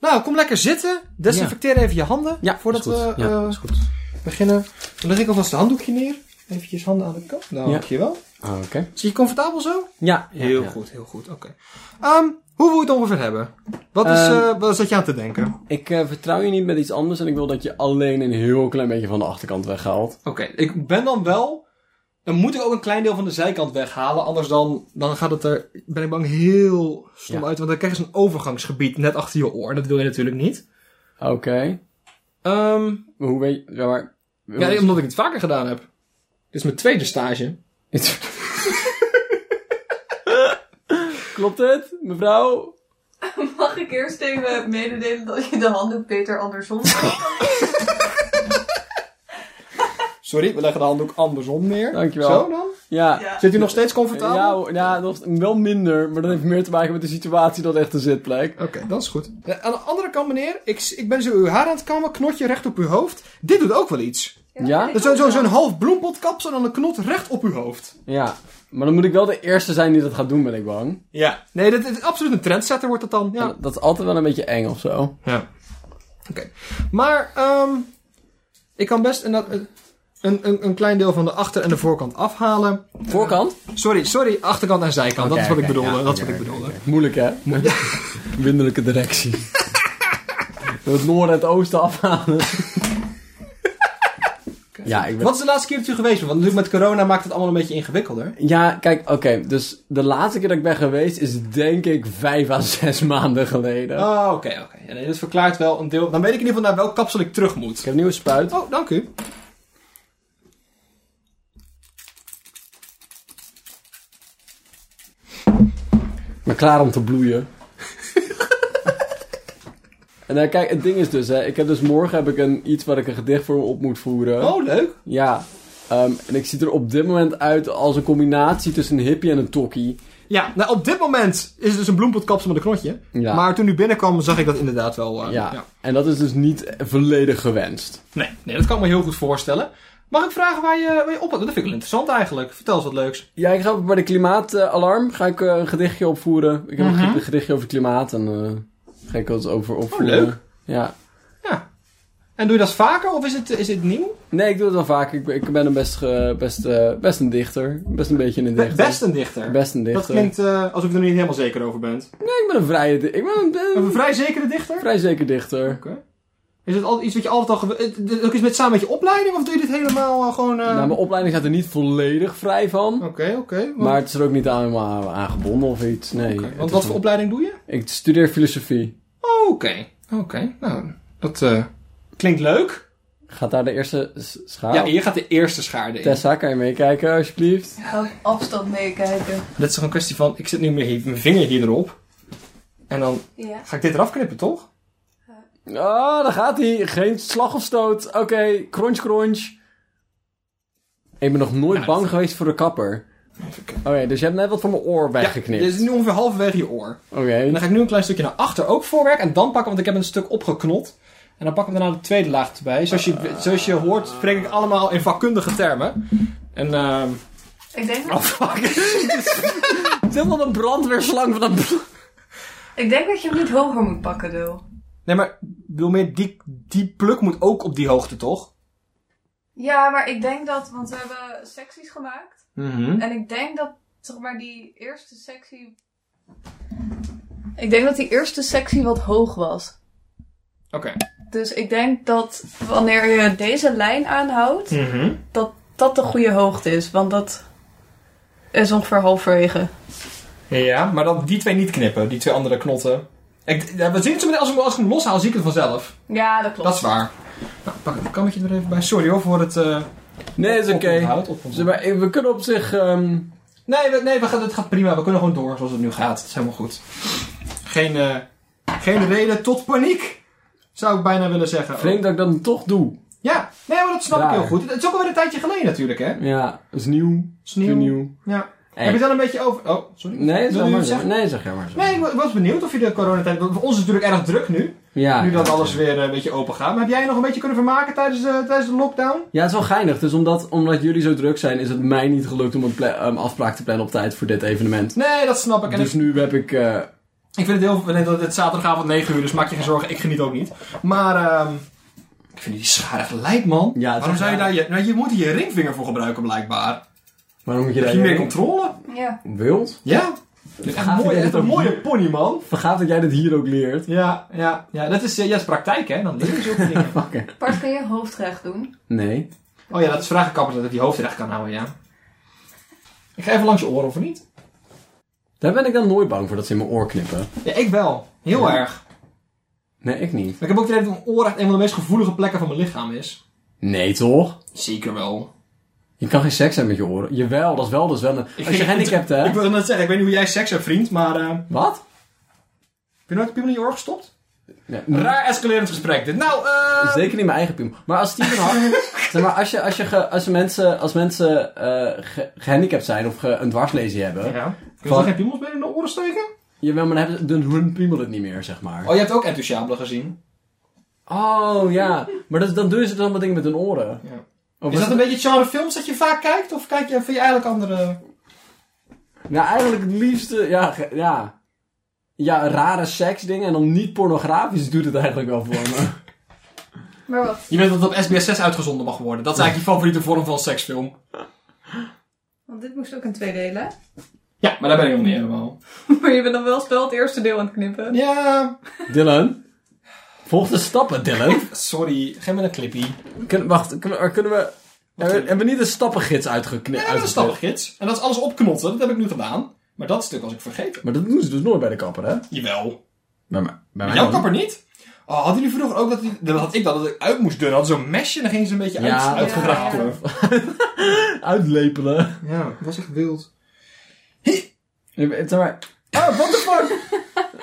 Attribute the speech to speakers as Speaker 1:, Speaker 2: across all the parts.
Speaker 1: Nou, kom lekker zitten. Desinfecteer even je handen.
Speaker 2: Ja,
Speaker 1: voordat
Speaker 2: is
Speaker 1: we
Speaker 2: goed. Ja,
Speaker 1: eh,
Speaker 2: is goed.
Speaker 1: beginnen. Dan leg ik alvast het handdoekje neer. Eventjes handen aan de kant. Dankjewel.
Speaker 2: Ah, Oké.
Speaker 1: Zit je comfortabel zo?
Speaker 2: Ja, ja,
Speaker 1: heel
Speaker 2: ja.
Speaker 1: goed, heel goed. Oké. Ehm, hoe wil je het ongeveer hebben? Wat is,
Speaker 2: Ehm,
Speaker 1: eh, wat zat je aan te denken? Oké,
Speaker 2: Ik eh, vertrouw je niet met iets anders en ik wil dat je alleen een heel klein beetje van de achterkant weghaalt.
Speaker 1: ik ben dan wel... Dan moet ik ook een klein deel van de zijkant weghalen. Anders dan, dan gaat het er, ben ik bang, heel stom
Speaker 2: Ja.
Speaker 1: uit. Want dan krijg je zo'n overgangsgebied net achter je oor. Dat wil je natuurlijk niet.
Speaker 2: Oké.
Speaker 1: Ehm,
Speaker 2: Maar Hoe weet je... Ja, maar...
Speaker 1: ja, omdat ik het vaker gedaan heb. Dit is mijn tweede stage.
Speaker 2: Klopt het, mevrouw?
Speaker 3: Mag ik eerst even mededelen dat je de handdoek beter andersom
Speaker 1: Sorry, we leggen de handdoek andersom neer.
Speaker 2: Dankjewel.
Speaker 1: Zo dan?
Speaker 2: Ja.
Speaker 3: Ja.
Speaker 1: Zit u nog steeds comfortabel?
Speaker 2: Ja, ho- ja, nog wel minder, maar dat heeft meer te maken met de situatie dan echt een zitplek.
Speaker 1: Oké, dat is goed. Eh, aan de andere kant, meneer, ik, ik ben zo uw haar aan het kammen, knotje recht op uw hoofd. Dit doet ook wel iets.
Speaker 2: Ja?
Speaker 1: Zo'n zo, zo'n half bloempotkapsel en dan een knot recht op uw hoofd.
Speaker 2: Ja, maar dan moet ik wel de eerste zijn die dat gaat doen, ben ik bang.
Speaker 1: Ja. Nee, dat is absoluut een trendsetter wordt dat dan. Ja.
Speaker 2: En Dat is altijd wel een beetje eng of zo.
Speaker 1: ja. Oké. Maar, ehm ik kan best een, eh, een, een, een klein deel van de achter- en de voorkant afhalen.
Speaker 2: Voorkant?
Speaker 1: Sorry, sorry, achterkant en zijkant. dat is wat
Speaker 2: Oké,
Speaker 1: ik
Speaker 2: oké,
Speaker 1: bedoelde.
Speaker 2: ja,
Speaker 1: dat is
Speaker 2: oké,
Speaker 1: wat ik
Speaker 2: oké,
Speaker 1: bedoelde.
Speaker 2: oké. Moeilijk, hè? Windelijke directie. het noorden en het oosten afhalen. ja, ik ben...
Speaker 1: Wat is de laatste keer dat u geweest bent? Want natuurlijk met corona maakt het allemaal een beetje ingewikkelder.
Speaker 2: Ja, kijk, oké. dus de laatste keer dat ik ben geweest is denk ik vijf à zes maanden geleden.
Speaker 1: Oh, oké, oké. Ja, nee, dat verklaart wel een deel. Dan weet ik in ieder geval naar welk kapsel ik terug moet.
Speaker 2: Ik heb een nieuwe spuit.
Speaker 1: Oh, dank u.
Speaker 2: Maar klaar om te bloeien. en nou, kijk, het ding is dus, hè, ik heb dus morgen heb ik een, iets waar ik een gedicht voor op moet voeren.
Speaker 1: Oh, leuk.
Speaker 2: Ja. Ehm, en ik zie er op dit moment uit als een combinatie tussen een hippie en een tokkie.
Speaker 1: Ja, nou op dit moment is het dus een bloempotkapsel met een knotje.
Speaker 2: Ja.
Speaker 1: Maar toen u binnenkwam zag ik dat inderdaad wel. eh,
Speaker 2: ja. En dat is dus niet volledig gewenst.
Speaker 1: Nee, nee, dat kan ik me heel goed voorstellen. Mag ik vragen waar je, waar je op Dat vind ik wel interessant eigenlijk. Vertel eens wat leuks.
Speaker 2: Ja, ik ga bij de klimaatalarm ga ik eh, een gedichtje opvoeren. Ik heb
Speaker 1: Mhm.
Speaker 2: een ged- een gedichtje over het klimaat en eh, ga ik dat over opvoeren.
Speaker 1: Oh, leuk.
Speaker 2: Ja.
Speaker 1: Ja. En doe je dat vaker of is het, is het nieuw?
Speaker 2: Nee, ik doe het wel vaak. Ik ben, ik ben een best, ge- best, eh, best een dichter. Best een beetje een dichter.
Speaker 1: Best een dichter.
Speaker 2: Best een dichter.
Speaker 1: Dat klinkt eh, alsof je er niet helemaal zeker over bent.
Speaker 2: Nee, ik ben een vrije di- Ik ben een, ben
Speaker 1: Een
Speaker 2: een
Speaker 1: vrij zekere dichter?
Speaker 2: vrij zeker dichter.
Speaker 1: Oké. Is het altijd iets wat je altijd al... gew- eh, dit- dit Ook iets met samen met je opleiding of doe je dit helemaal eh, gewoon... eh,
Speaker 2: Nou, mijn opleiding gaat er niet volledig vrij van.
Speaker 1: Oké, oké. want-
Speaker 2: Maar het is er ook niet aan, aan aan gebonden of iets. Nee.
Speaker 1: oké,
Speaker 2: het
Speaker 1: Want
Speaker 2: is
Speaker 1: wat voor
Speaker 2: een-
Speaker 1: opleiding doe je?
Speaker 2: Ik studeer filosofie.
Speaker 1: Oh, oké. Oké, nou, dat eh, klinkt leuk.
Speaker 2: Gaat daar de eerste s- schaal?
Speaker 1: Ja, hier gaat de eerste schaar in.
Speaker 2: Tessa, kan je meekijken alsjeblieft?
Speaker 3: Ga op afstand meekijken.
Speaker 1: Dat is toch een kwestie van, ik zit nu met hier- mijn vinger hier erop. En dan
Speaker 3: Ja.
Speaker 1: ga ik dit eraf knippen, toch?
Speaker 2: Oh, daar gaat hij. Geen slag of stoot. Oké, crunch, crunch. Ik ben nog nooit
Speaker 1: Nou,
Speaker 2: bang geweest voor de kapper. Oké, dus je hebt net wat van mijn oor weggeknipt.
Speaker 1: Ja, dit is nu ongeveer halverwege je oor.
Speaker 2: Oké.
Speaker 1: En dan ga ik nu een klein stukje naar achter ook voorwerken. En dan pakken, want ik heb een stuk opgeknot. En dan pakken we daarna de tweede laag erbij. Zoals je, zoals je hoort, spreek ik allemaal in vakkundige termen. En, ehm
Speaker 3: Ik denk,
Speaker 1: Oh,
Speaker 3: dat,
Speaker 1: fuck.
Speaker 2: Het is helemaal een brandweerslang van dat...
Speaker 3: ik denk dat je hem niet hoger moet pakken, Dul.
Speaker 1: Nee, maar ik bedoel meer, die, die pluk moet ook op die hoogte, toch?
Speaker 3: Ja, maar ik denk dat, want we hebben secties gemaakt.
Speaker 1: Mhm.
Speaker 3: En ik denk dat, zeg maar, die eerste sectie. Ik denk dat die eerste sectie wat hoog was.
Speaker 1: Oké.
Speaker 3: Dus ik denk dat wanneer je deze lijn aanhoudt,
Speaker 1: Mhm.
Speaker 3: dat dat de goede hoogte is. Want dat is ongeveer halverwege.
Speaker 1: Ja, maar dan die twee niet knippen, die twee andere knotten. Ik, ja, we zien het zo meteen, als ik, hem- als ik hem loshaal, zie ik het vanzelf.
Speaker 3: Ja, dat klopt.
Speaker 1: Dat is waar. Nou, pak het kammetje er even bij. Sorry hoor voor het... eh
Speaker 2: Nee, is oké.
Speaker 1: oponthoud, oponthoud.
Speaker 2: Zeg maar, we kunnen op zich... ehm,
Speaker 1: Nee, we, nee we gaan, het gaat prima. We kunnen gewoon door zoals het nu gaat. Dat is helemaal goed. Geen, eh, geen reden tot paniek, zou ik bijna willen zeggen.
Speaker 2: Vreemd dat ik dat toch doe.
Speaker 1: Ja, nee, maar dat snap
Speaker 2: Raar.
Speaker 1: ik heel goed. Het is ook alweer een tijdje geleden natuurlijk, hè?
Speaker 2: Ja, dat is nieuw.
Speaker 1: Sneeuw.
Speaker 2: Nieuw.
Speaker 1: Ja.
Speaker 2: Hey.
Speaker 1: Heb je het wel een beetje over... Oh, sorry.
Speaker 2: Nee,
Speaker 1: Wil
Speaker 2: zeg
Speaker 1: u
Speaker 2: maar
Speaker 1: het
Speaker 2: zo.
Speaker 1: zeggen?
Speaker 2: Nee, zeg jij maar zo.
Speaker 1: Nee, ik wa- was benieuwd of je de coronatijd... want Voor ons is het natuurlijk erg druk nu.
Speaker 2: Ja,
Speaker 1: nu dat
Speaker 2: ja,
Speaker 1: alles
Speaker 2: ja.
Speaker 1: weer eh, een beetje open gaat. Maar heb jij je nog een beetje kunnen vermaken tijdens, eh, tijdens de lockdown?
Speaker 2: Ja, het is wel geinig. Dus omdat, omdat jullie zo druk zijn, is het mij ehm, niet gelukt om een pla- um, afspraak te plannen op tijd voor dit evenement.
Speaker 1: Nee, dat snap ik. En
Speaker 2: Dus nu heb ik eh,
Speaker 1: Ik vind het heel... nee, dat- Het is zaterdagavond 9 uur, dus maak je geen zorgen. Ik geniet ook niet. Maar... ehm, ik vind die schaar echt lijp, man.
Speaker 2: Ja, het is
Speaker 1: Waarom zou je
Speaker 2: raar.
Speaker 1: daar je... Nou, je moet hier je ringvinger voor gebruiken, blijkbaar.
Speaker 2: Waarom moet je
Speaker 1: Heb
Speaker 2: daar
Speaker 1: je meer controle?
Speaker 3: Ja.
Speaker 2: Wild?
Speaker 1: Ja. Dit is echt een
Speaker 2: Gaaf
Speaker 1: mooie,
Speaker 2: idee,
Speaker 1: echt
Speaker 2: dat
Speaker 1: een
Speaker 2: ook.
Speaker 1: mooie pony, man.
Speaker 2: Vergaat dat jij dit hier ook leert?
Speaker 1: Ja, ja, ja. Dat is, eh, ja, dat is praktijk, hè. Dan leer je zulke dingen.
Speaker 2: Fucker.
Speaker 3: Bart, kun je hoofdrecht doen?
Speaker 2: Nee.
Speaker 1: Oh ja, dat is vragenkapper dat ik die hoofd recht kan houden, ja. Ik ga even langs je oren, of niet?
Speaker 2: Daar ben ik dan nooit bang voor dat ze in mijn oor knippen.
Speaker 1: Ja, ik wel. Heel
Speaker 2: Ja.
Speaker 1: erg.
Speaker 2: Nee, ik niet.
Speaker 1: Maar ik heb ook het idee dat mijn oor echt een van de meest gevoelige plekken van mijn lichaam is.
Speaker 2: Nee, toch?
Speaker 1: Zeker wel.
Speaker 2: Je kan geen seks hebben met je oren. Jawel, dat is wel, dat is wel een... Als je
Speaker 1: Ik-
Speaker 2: gehandicapt hebt,
Speaker 1: Ik
Speaker 2: hè?
Speaker 1: wilde net zeggen, ik weet niet hoe jij seks hebt, vriend, maar... eh, Heb
Speaker 2: Wat?
Speaker 1: je nooit piemel in je oor gestopt?
Speaker 2: Nee,
Speaker 1: Raar escalerend gesprek dit. Nou, eh...
Speaker 2: mm, Zeker niet mijn eigen piemel. Maar als Steven Hart... zeg maar, als, je, als, je ge- als mensen, als mensen eh, ge- gehandicapt zijn of ge- een dwarslesie hebben...
Speaker 1: Ja. Kun je
Speaker 2: Wat?
Speaker 1: toch geen piemels meer in de oren steken?
Speaker 2: Jawel, maar dan hebben ze dan hun piemel het niet meer, zeg maar.
Speaker 1: Oh, je hebt ook enthousiabelen gezien.
Speaker 2: Oh, ja. Maar dat, dan doen ze dus allemaal dingen met hun oren.
Speaker 1: Ja.
Speaker 2: Of
Speaker 1: Is
Speaker 2: was
Speaker 1: dat een
Speaker 2: het-
Speaker 1: beetje het genre films dat je vaak kijkt? Of kijk je, vind je eigenlijk andere...
Speaker 2: Nou, eigenlijk het liefste... Ja, ge- ja. Ja, rare seksdingen en dan niet pornografisch doet het eigenlijk wel voor me.
Speaker 3: Maar wat?
Speaker 1: Je weet dat het op SBS 6 uitgezonden mag worden. Dat is eigenlijk je favoriete vorm van seksfilm.
Speaker 3: Want dit moest ook in twee delen.
Speaker 1: Ja, maar daar ben ik nog niet helemaal.
Speaker 3: Maar je bent dan wel spel het eerste deel aan het knippen.
Speaker 1: Ja,
Speaker 2: Dylan? Volg de stappen, Dylan.
Speaker 1: sorry. Geef me een clippy.
Speaker 2: Kun- wacht, kunnen we... Kunnen we hebben, we- hebben we niet de stappengids uitgeknipt?
Speaker 1: Ja, dat is een stappengids. En dat is alles opknotten. Dat heb ik nu gedaan. Maar dat stuk was ik vergeten.
Speaker 2: Maar dat doen ze dus nooit bij de kapper, hè?
Speaker 1: Jawel.
Speaker 2: Bij, mij- bij mij
Speaker 1: Jouw
Speaker 2: dan.
Speaker 1: kapper niet? Oh, hadden jullie vroeger ook dat... die- Dat had ik dat, dat ik uit moest dunnen. Hadden zo'n mesje en dan ging ze een beetje
Speaker 2: Ja,
Speaker 1: uit,
Speaker 2: dat-
Speaker 1: uitgebracht worden.
Speaker 2: Uitlepelen.
Speaker 1: Ja, dat was echt wild.
Speaker 2: Ik weet- zeg maar,
Speaker 1: Oh, what the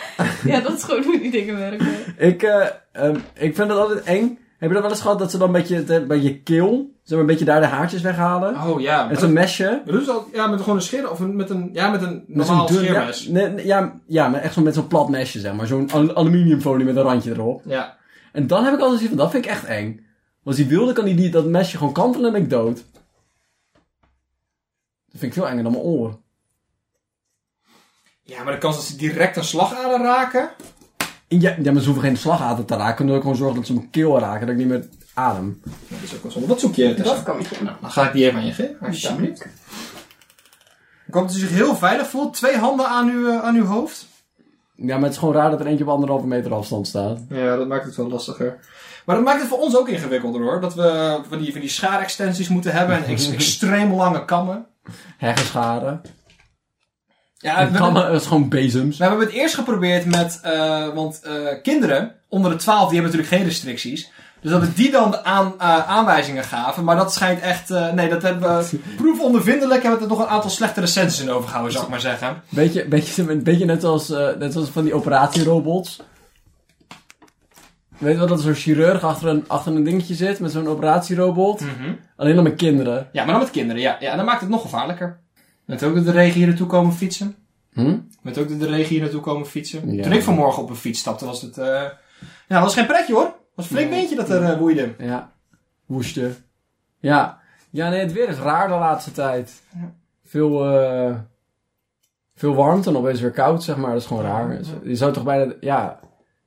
Speaker 1: fuck?
Speaker 3: Ja, dat is gewoon hoe die dingen werken.
Speaker 2: ik, eh, ehm, ik vind dat altijd eng. Heb je dat wel eens gehad dat ze dan een beetje de- bij je keel, zeg maar, een beetje daar de haartjes weghalen?
Speaker 1: Oh, ja.
Speaker 2: en zo'n mesje.
Speaker 1: Maar doen ze dat ja, met gewoon een scheer of een- met een, ja, met een
Speaker 2: Met
Speaker 1: normaal
Speaker 2: zo'n dun- ja,
Speaker 1: scheermes?
Speaker 2: nee, nee, ja, ja, maar echt zo met zo'n plat mesje, zeg maar. Zo'n al- aluminiumfolie met een randje erop.
Speaker 1: Ja.
Speaker 2: En dan heb ik altijd zoiets van, dat vind ik echt eng. Want als die wilde, kan die, die dat mesje gewoon kantelen en ben ik dood. Dat vind ik veel enger dan mijn oor.
Speaker 1: Ja, maar de kans dat ze direct een slagader raken...
Speaker 2: En Ja, ja, maar ze hoeven geen slagader te raken. Dan wil ik gewoon zorgen dat ze mijn keel raken, dat ik niet meer adem.
Speaker 1: Dus Dat is ook wel zonde. Wat zoek je? Tessa?
Speaker 3: Dat kan ik doen.
Speaker 1: Nou, dan ga ik die even aan je geven, alsjeblieft. Ik hoop dat u zich heel veilig voelt. Twee handen aan uw, eh, aan uw hoofd.
Speaker 2: Ja, maar het is gewoon raar dat er eentje op anderhalve meter afstand staat.
Speaker 1: Ja, dat maakt het wel lastiger. Maar dat maakt het voor ons ook ingewikkelder hoor. Dat we van die, van die schaarextensies moeten hebben en ex- extreem lange kammen.
Speaker 2: Heggenscharen.
Speaker 1: Ja,
Speaker 2: En
Speaker 1: we,
Speaker 2: kammen,
Speaker 1: hebben,
Speaker 2: eh, dat is gewoon bezems.
Speaker 1: we hebben het eerst geprobeerd met. eh, want eh, kinderen onder de 12 die hebben natuurlijk geen restricties. Dus dat we die dan aan, eh, aanwijzingen gaven. Maar dat schijnt echt. eh, nee, dat hebben we. Proefondervindelijk hebben we er nog een aantal slechte recensies in overgehouden, zou ik maar zeggen.
Speaker 2: Beetje, beetje, beetje net, als, eh, net als van die operatierobots. Weet je wel dat er zo'n chirurg achter een, achter een dingetje zit met zo'n operatierobot? Alleen dan met kinderen.
Speaker 1: Ja, maar dan met kinderen, ja. ja en dan maakt het nog gevaarlijker. Met ook dat de regen hier naartoe komen fietsen.
Speaker 2: Hm?
Speaker 1: Met ook dat de regen hier naartoe komen fietsen.
Speaker 2: Ja.
Speaker 1: Toen ik vanmorgen op een fiets stapte, was het... eh Ja, dat was geen pretje hoor. Het was een flink
Speaker 2: Nee.
Speaker 1: windje dat er eh, woeide.
Speaker 2: Ja. Woeste. Ja. Ja, nee, het weer is raar de laatste tijd.
Speaker 1: Ja.
Speaker 2: Veel, eh, veel warmte en opeens weer koud, zeg maar. Dat is gewoon raar. Je zou toch bijna... Ja.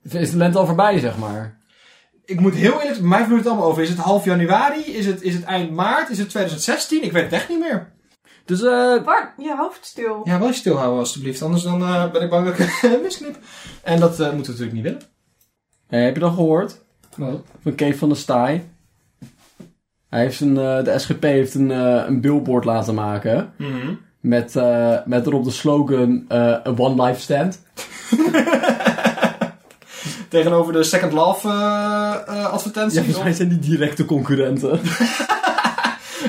Speaker 2: Is de lente al voorbij, zeg maar?
Speaker 1: Ik moet heel eerlijk... Mij vloeit het allemaal over. Is het half januari? Is het, is het eind maart? Is het 2016? Ik weet het echt niet meer.
Speaker 2: Dus, eh...
Speaker 3: Bart, je hoofd stil.
Speaker 1: Ja, wel je stilhouden alstublieft. Anders dan eh, ben ik bang dat ik een misknip. En dat eh, moeten we natuurlijk niet willen.
Speaker 2: Hey, heb je dat gehoord? Van Kees van der Staaij. Hij heeft een, eh, de SGP heeft een, eh, een billboard laten maken.
Speaker 1: Mhm.
Speaker 2: Met, eh, met erop de slogan eh, A One Life Stand.
Speaker 1: Tegenover de Second Love eh eh, advertenties.
Speaker 2: Ja, volgens
Speaker 1: of-
Speaker 2: mij zijn die directe concurrenten.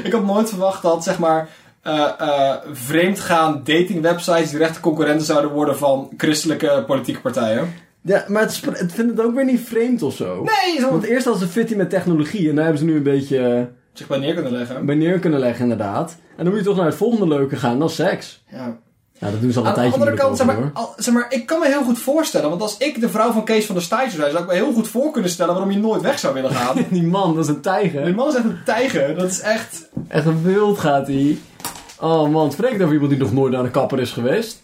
Speaker 1: Ik had nooit verwacht dat, zeg maar, eh eh vreemdgaan datingwebsites directe concurrenten zouden worden van christelijke politieke partijen.
Speaker 2: ja, maar het, spra- het vindt het ook weer niet vreemd of zo.
Speaker 1: Nee, ze
Speaker 2: Want
Speaker 1: hadden
Speaker 2: eerst hadden ze fitty met technologie en daar hebben ze nu een beetje eh,
Speaker 1: zich bij neer kunnen leggen.
Speaker 2: bij neer kunnen leggen inderdaad. En dan moet je toch naar het volgende leuke gaan, dat is seks.
Speaker 1: Ja.
Speaker 2: Nou, dat doen ze al een
Speaker 1: Aan de
Speaker 2: tijdje
Speaker 1: andere
Speaker 2: moeilijk
Speaker 1: kant, zeg
Speaker 2: over,
Speaker 1: maar, al- zeg maar, ik kan me heel goed voorstellen, want als ik de vrouw van Kees van der Staaij zou zijn, zou ik me heel goed voor kunnen stellen waarom je nooit weg zou willen gaan.
Speaker 2: hoor. Die man, dat is een tijger.
Speaker 1: Die man is echt een tijger, dat is echt...
Speaker 2: Echt een wild gaat hij. Oh man, spreek over iemand die nog nooit naar de kapper is geweest.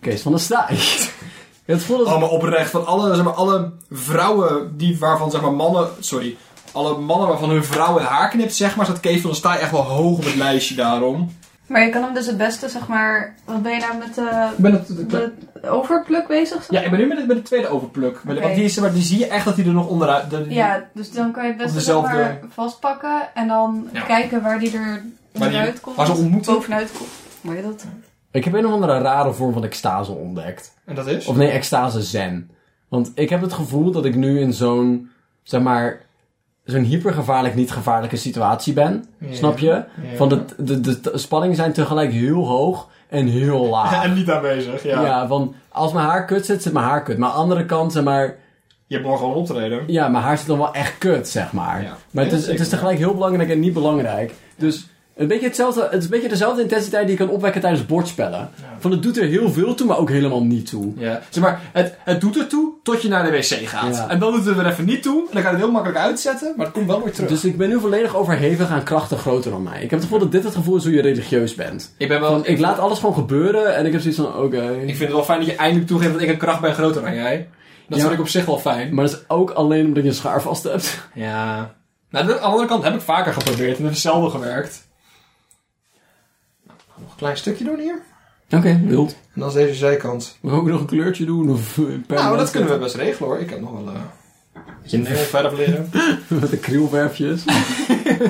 Speaker 2: Kees van der Staaij. Je hebt het gevoel dat-
Speaker 1: Oh, maar oprecht, van alle, zeg maar, alle vrouwen die, waarvan zeg maar mannen, sorry, alle mannen waarvan hun vrouw het haar knipt, zeg maar, staat Kees van der Staaij echt wel hoog op het lijstje daarom.
Speaker 3: Maar je kan hem dus het beste, zeg maar... Wat ben je nou met de,
Speaker 1: Ik ben het,
Speaker 3: de overpluk bezig? zeg
Speaker 1: ja, ik ben nu met het, met het tweede overpluk. Met-
Speaker 3: Oké.
Speaker 1: Want die, is, maar, die zie je echt dat hij er nog onderuit... de-
Speaker 3: Ja, dus dan kan je het best
Speaker 1: Op
Speaker 3: zeg maar
Speaker 1: dezelfde-
Speaker 3: vastpakken en dan
Speaker 1: Ja.
Speaker 3: kijken waar die er onderuit komt.
Speaker 1: waar ze ontmoeten.
Speaker 3: Bovenuit komt. Maar je dat?
Speaker 2: Ik heb een of andere rare vorm van extase ontdekt.
Speaker 1: En dat is?
Speaker 2: Of nee, extase zen. Want ik heb het gevoel dat ik nu in zo'n, zeg maar, zo'n hypergevaarlijk, niet gevaarlijke situatie ben.
Speaker 1: Ja.
Speaker 2: Snap je?
Speaker 1: Ja.
Speaker 2: Van de, de, de, de spanningen zijn tegelijk heel hoog en heel laag.
Speaker 1: Ja, en niet aanwezig, ja.
Speaker 2: Ja. van als mijn haar kut zit, zit mijn haar kut. Maar aan de andere kant, zeg maar,
Speaker 1: Je hebt morgen al een optreden.
Speaker 2: ja, mijn haar zit dan wel echt kut, zeg maar.
Speaker 1: Ja.
Speaker 2: Maar het
Speaker 1: Ja,
Speaker 2: is, het is
Speaker 1: zeker.
Speaker 2: tegelijk heel belangrijk en niet belangrijk. Dus een beetje hetzelfde, het is een beetje dezelfde intensiteit die je kan opwekken tijdens bordspellen. Van het doet er heel veel toe, maar ook helemaal niet toe.
Speaker 1: Ja. Zeg maar, het, het doet er toe tot je naar de wc gaat.
Speaker 2: Ja.
Speaker 1: En dan doet het er even niet toe. En dan kan je het heel makkelijk uitzetten, maar het komt wel weer terug.
Speaker 2: Dus ik ben nu volledig overhevig aan krachten groter dan mij. Ik heb het gevoel dat dit het gevoel is hoe je religieus bent.
Speaker 1: ik ben wel...
Speaker 2: Van, ik laat alles gewoon gebeuren en ik heb zoiets van, oké.
Speaker 1: Ik vind het wel fijn dat je eindelijk toegeeft dat ik een kracht ben groter dan jij. Dat
Speaker 2: Ja.
Speaker 1: vind ik op zich wel fijn.
Speaker 2: Maar dat is ook alleen omdat je een schaar vast hebt.
Speaker 1: Ja. Nou, aan de andere kant heb ik vaker geprobeerd en het is zelden gewerkt. Nog een klein stukje doen hier.
Speaker 2: Oké, wild.
Speaker 1: En dan is deze zijkant.
Speaker 2: We gaan ook nog een kleurtje doen of eh, een
Speaker 1: nou, dat kunnen we best regelen hoor. Ik heb nog wel... eh, een beetje neonverf leren.
Speaker 2: we. Met de krielverfjes.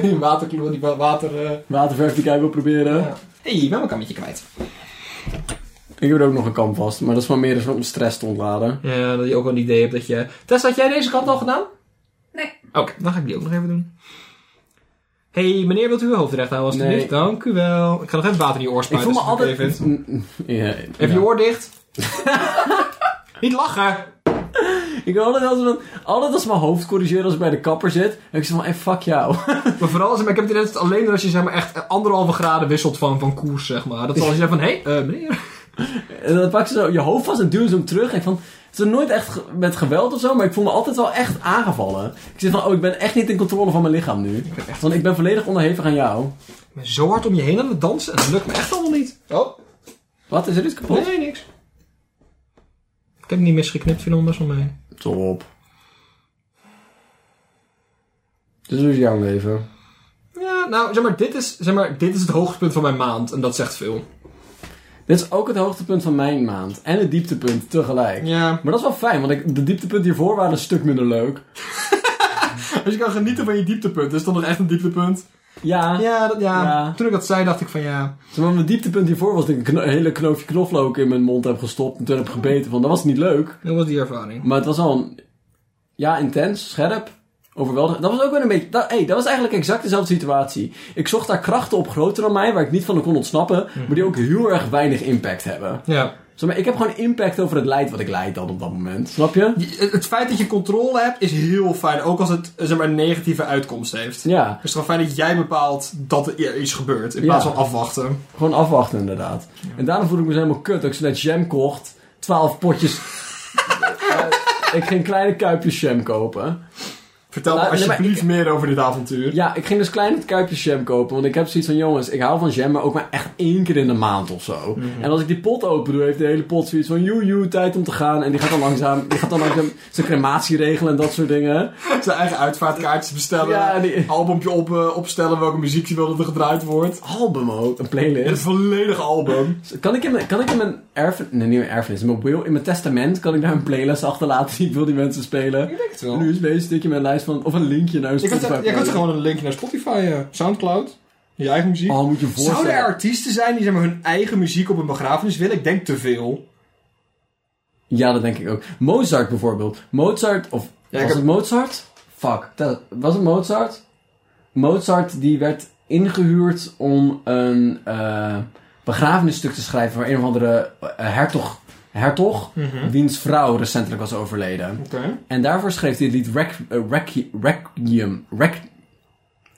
Speaker 1: Die waterkloer, die wa- water... eh,
Speaker 2: Waterverf die ik uit wil proberen.
Speaker 1: Ja. Hé, hey, ben mijn kammetje kwijt.
Speaker 2: Ik heb er ook nog een kamp vast, maar dat is maar meer dus om stress te ontladen.
Speaker 1: Ja, dat je ook wel een idee hebt dat je... Tess, had jij deze kant al gedaan?
Speaker 3: Nee.
Speaker 1: Oké, dan ga ik die ook nog even doen. Hé, hey, meneer, wilt u uw hoofd recht houden alstublieft? Dank u wel. Ik ga nog even water in je oor
Speaker 2: Ik
Speaker 1: spuiten.
Speaker 2: voel me
Speaker 1: als je het
Speaker 2: altijd...
Speaker 1: oké vindt.
Speaker 2: Mm, Ja,
Speaker 1: Even
Speaker 2: ja.
Speaker 1: je oor dicht. Niet lachen.
Speaker 2: Ik wil altijd als, dan, altijd als mijn hoofd corrigeren als ik bij de kapper zit. En ik zeg van, hey, fuck jou.
Speaker 1: Maar vooral, als, maar ik heb het idee dat het alleen als je zeg maar, echt anderhalve graden wisselt van, van koers, zeg maar. Dat is als je zegt van, hé, hey, eh, meneer.
Speaker 2: En dan pak ze zo je hoofd vast en duwen ze hem terug. En ik van, het is nooit echt ge- met geweld of zo, maar ik voel me altijd wel echt aangevallen. Ik zeg van, oh, ik ben echt niet in controle van mijn lichaam nu. Want ik ben volledig onderhevig aan jou.
Speaker 1: Ik ben zo hard om je heen aan het dansen en dat lukt me echt allemaal niet. Oh,
Speaker 2: Wat, is er iets kapot?
Speaker 1: nee, niks. Ik heb het niet misgeknipt, vind ik best wel mee.
Speaker 2: Top. Dus hoe is jouw leven?
Speaker 1: Ja, nou, zeg maar, dit is, zeg maar, dit is het hoogtepunt van mijn maand en dat zegt veel.
Speaker 2: Dit is ook het hoogtepunt van mijn maand. En het dieptepunt tegelijk.
Speaker 1: Ja.
Speaker 2: Maar dat is wel fijn, want ik, de dieptepunten hiervoor waren een stuk minder leuk.
Speaker 1: Als je Dus kan genieten van je dieptepunt, is dat nog echt een dieptepunt?
Speaker 2: Ja,
Speaker 1: Ja, dat, ja.
Speaker 2: Ja.
Speaker 1: toen ik dat zei, dacht ik van ja.
Speaker 2: zeg maar mijn dieptepunt hiervoor was dat ik een kno- hele knoofje knoflook in mijn mond heb gestopt en toen heb gebeten. Van, dat was niet leuk.
Speaker 1: Dat was die ervaring.
Speaker 2: Maar het was al een, ja, intens, scherp, overweldigend. Dat was ook wel een beetje, dat, hey, dat was eigenlijk exact dezelfde situatie. Ik zocht daar krachten op groter dan mij, waar ik niet van kon ontsnappen, maar die ook heel erg weinig impact hebben.
Speaker 1: Ja.
Speaker 2: Zeg maar, ik heb gewoon impact over het lijden wat ik leid dan op dat moment. Snap je?
Speaker 1: Je- Het het feit dat je controle hebt is heel fijn, ook als het zeg maar, een negatieve uitkomst heeft.
Speaker 2: Ja,
Speaker 1: Het is gewoon fijn dat jij bepaalt dat er i- iets gebeurt, in plaats
Speaker 2: Ja.
Speaker 1: van afwachten.
Speaker 2: gewoon afwachten inderdaad. En daarom voelde ik me dus helemaal kut dat ik zo net jam kocht, twaalf potjes. Eh, ik ging kleine kuipjes jam kopen.
Speaker 1: Vertel me
Speaker 2: Nou, nee, maar
Speaker 1: alsjeblieft meer over dit avontuur.
Speaker 2: Ja, ik ging dus kleine kuipjes jam kopen. Want ik heb zoiets van, jongens, ik hou van jam, maar ook maar echt één keer in de maand of zo. En als ik die pot open doe, heeft de hele pot zoiets van, joe, joe, tijd om te gaan. En die gaat dan langzaam, die gaat dan langzaam zijn crematie regelen en dat soort dingen.
Speaker 1: Zijn eigen uitvaartkaartjes bestellen,
Speaker 2: Ja, die-
Speaker 1: albumpje op, eh, opstellen, welke muziek je wil dat er gedraaid wordt.
Speaker 2: Album ook, een
Speaker 1: Het
Speaker 2: playlist.
Speaker 1: volledige album.
Speaker 2: Kan ik in mijn, kan ik in mijn erfenis, nee, niet mijn erfenis, in mijn wil, in mijn testament, kan ik daar een playlist achterlaten die ik wil die mensen spelen?
Speaker 1: denk het
Speaker 2: Een USB-stickje met een lijst van, of een linkje naar een
Speaker 1: Je kunt,
Speaker 2: Spotify.
Speaker 1: je kunt
Speaker 2: playlist.
Speaker 1: gewoon een linkje naar Spotify, eh, Soundcloud, je eigen muziek.
Speaker 2: Oh, moet je voorstellen.
Speaker 1: Zouden er artiesten zijn die zeg maar, hun eigen muziek op een begrafenis willen? Ik denk te veel.
Speaker 2: Ja, dat denk ik ook. Mozart bijvoorbeeld. Mozart, of
Speaker 1: Ja, ik
Speaker 2: was
Speaker 1: heb-
Speaker 2: het Mozart? Fuck, dat, was het Mozart? Mozart die werd ingehuurd om een eh, begrafenisstuk te schrijven voor een of andere eh, hertog, hertog wiens vrouw recentelijk was overleden.
Speaker 1: Mhm. Oké.
Speaker 2: En daarvoor schreef hij het lied Requ- eh, Requi- Requiem. Requ-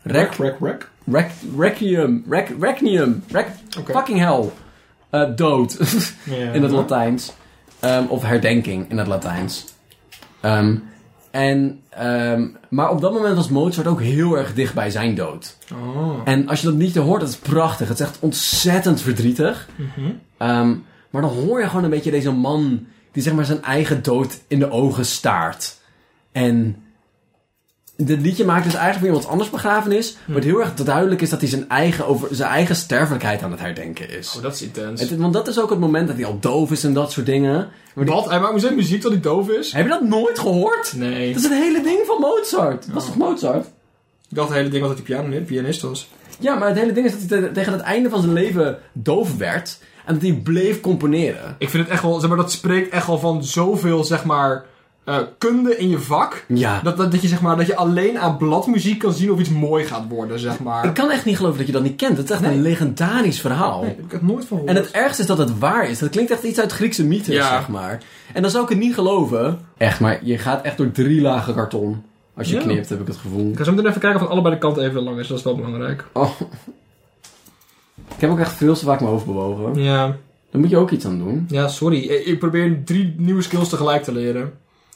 Speaker 2: Requ-
Speaker 1: Rek, rek.
Speaker 2: Rec, requiem, rec, recnium, rec,
Speaker 1: Oké. Uh-huh.
Speaker 2: fucking hell. Eh, dood,
Speaker 1: Ja.
Speaker 2: in het Latijns. Ehm, of herdenking, in het Latijns. Ehm, en, ehm, maar op dat moment was Mozart ook heel erg dicht bij zijn dood.
Speaker 1: Oh.
Speaker 2: En als je dat liedje hoort, dat is prachtig. Het is echt ontzettend verdrietig.
Speaker 1: Mhm.
Speaker 2: Ehm, maar dan hoor je gewoon een beetje deze man die zeg maar zijn eigen dood in de ogen staart. En dit liedje maakt dus eigenlijk voor iemand anders begrafenis,
Speaker 1: Hm.
Speaker 2: maar het heel erg duidelijk is dat hij zijn eigen, over, zijn eigen sterfelijkheid aan het herdenken is.
Speaker 1: Oh, dat is intens.
Speaker 2: Het- want dat is ook het moment dat hij al doof is en dat soort dingen. Maar die-
Speaker 1: Wat? Hij maakt zijn muziek dat hij doof is?
Speaker 2: heb je dat nooit gehoord?
Speaker 1: Nee.
Speaker 2: Dat is het hele ding van Mozart. Dat was toch Mozart?
Speaker 1: Ik dacht het hele ding was dat hij piano, pianist was.
Speaker 2: Ja, maar het hele ding is dat hij te- tegen het einde van zijn leven doof werd. En dat hij bleef componeren.
Speaker 1: Ik vind het echt wel, zeg maar, dat spreekt echt wel van zoveel, zeg maar, eh, kunde in je vak.
Speaker 2: Ja.
Speaker 1: Dat, dat, dat je, zeg maar, dat je alleen aan bladmuziek kan zien of iets mooi gaat worden, zeg maar.
Speaker 2: Ik kan echt niet geloven dat je dat niet kent. Dat is echt een legendarisch verhaal.
Speaker 1: Nee, heb ik het nooit van gehoord.
Speaker 2: En het ergste is dat het waar is. Dat klinkt echt iets uit Griekse mythes,
Speaker 1: Ja.
Speaker 2: zeg maar. En dan zou ik het niet geloven. Echt, maar je gaat echt door drie lagen karton. Als je
Speaker 1: Ja.
Speaker 2: knipt, heb ik het gevoel.
Speaker 1: Ik ga zo meteen even kijken of het allebei de kanten even lang is. Dat is wel belangrijk.
Speaker 2: Oh. Ik heb ook echt veel te vaak mijn hoofd bewogen.
Speaker 1: Ja,
Speaker 2: Daar moet je ook iets aan doen.
Speaker 1: ja sorry. Ik, ik probeer drie nieuwe skills tegelijk te leren.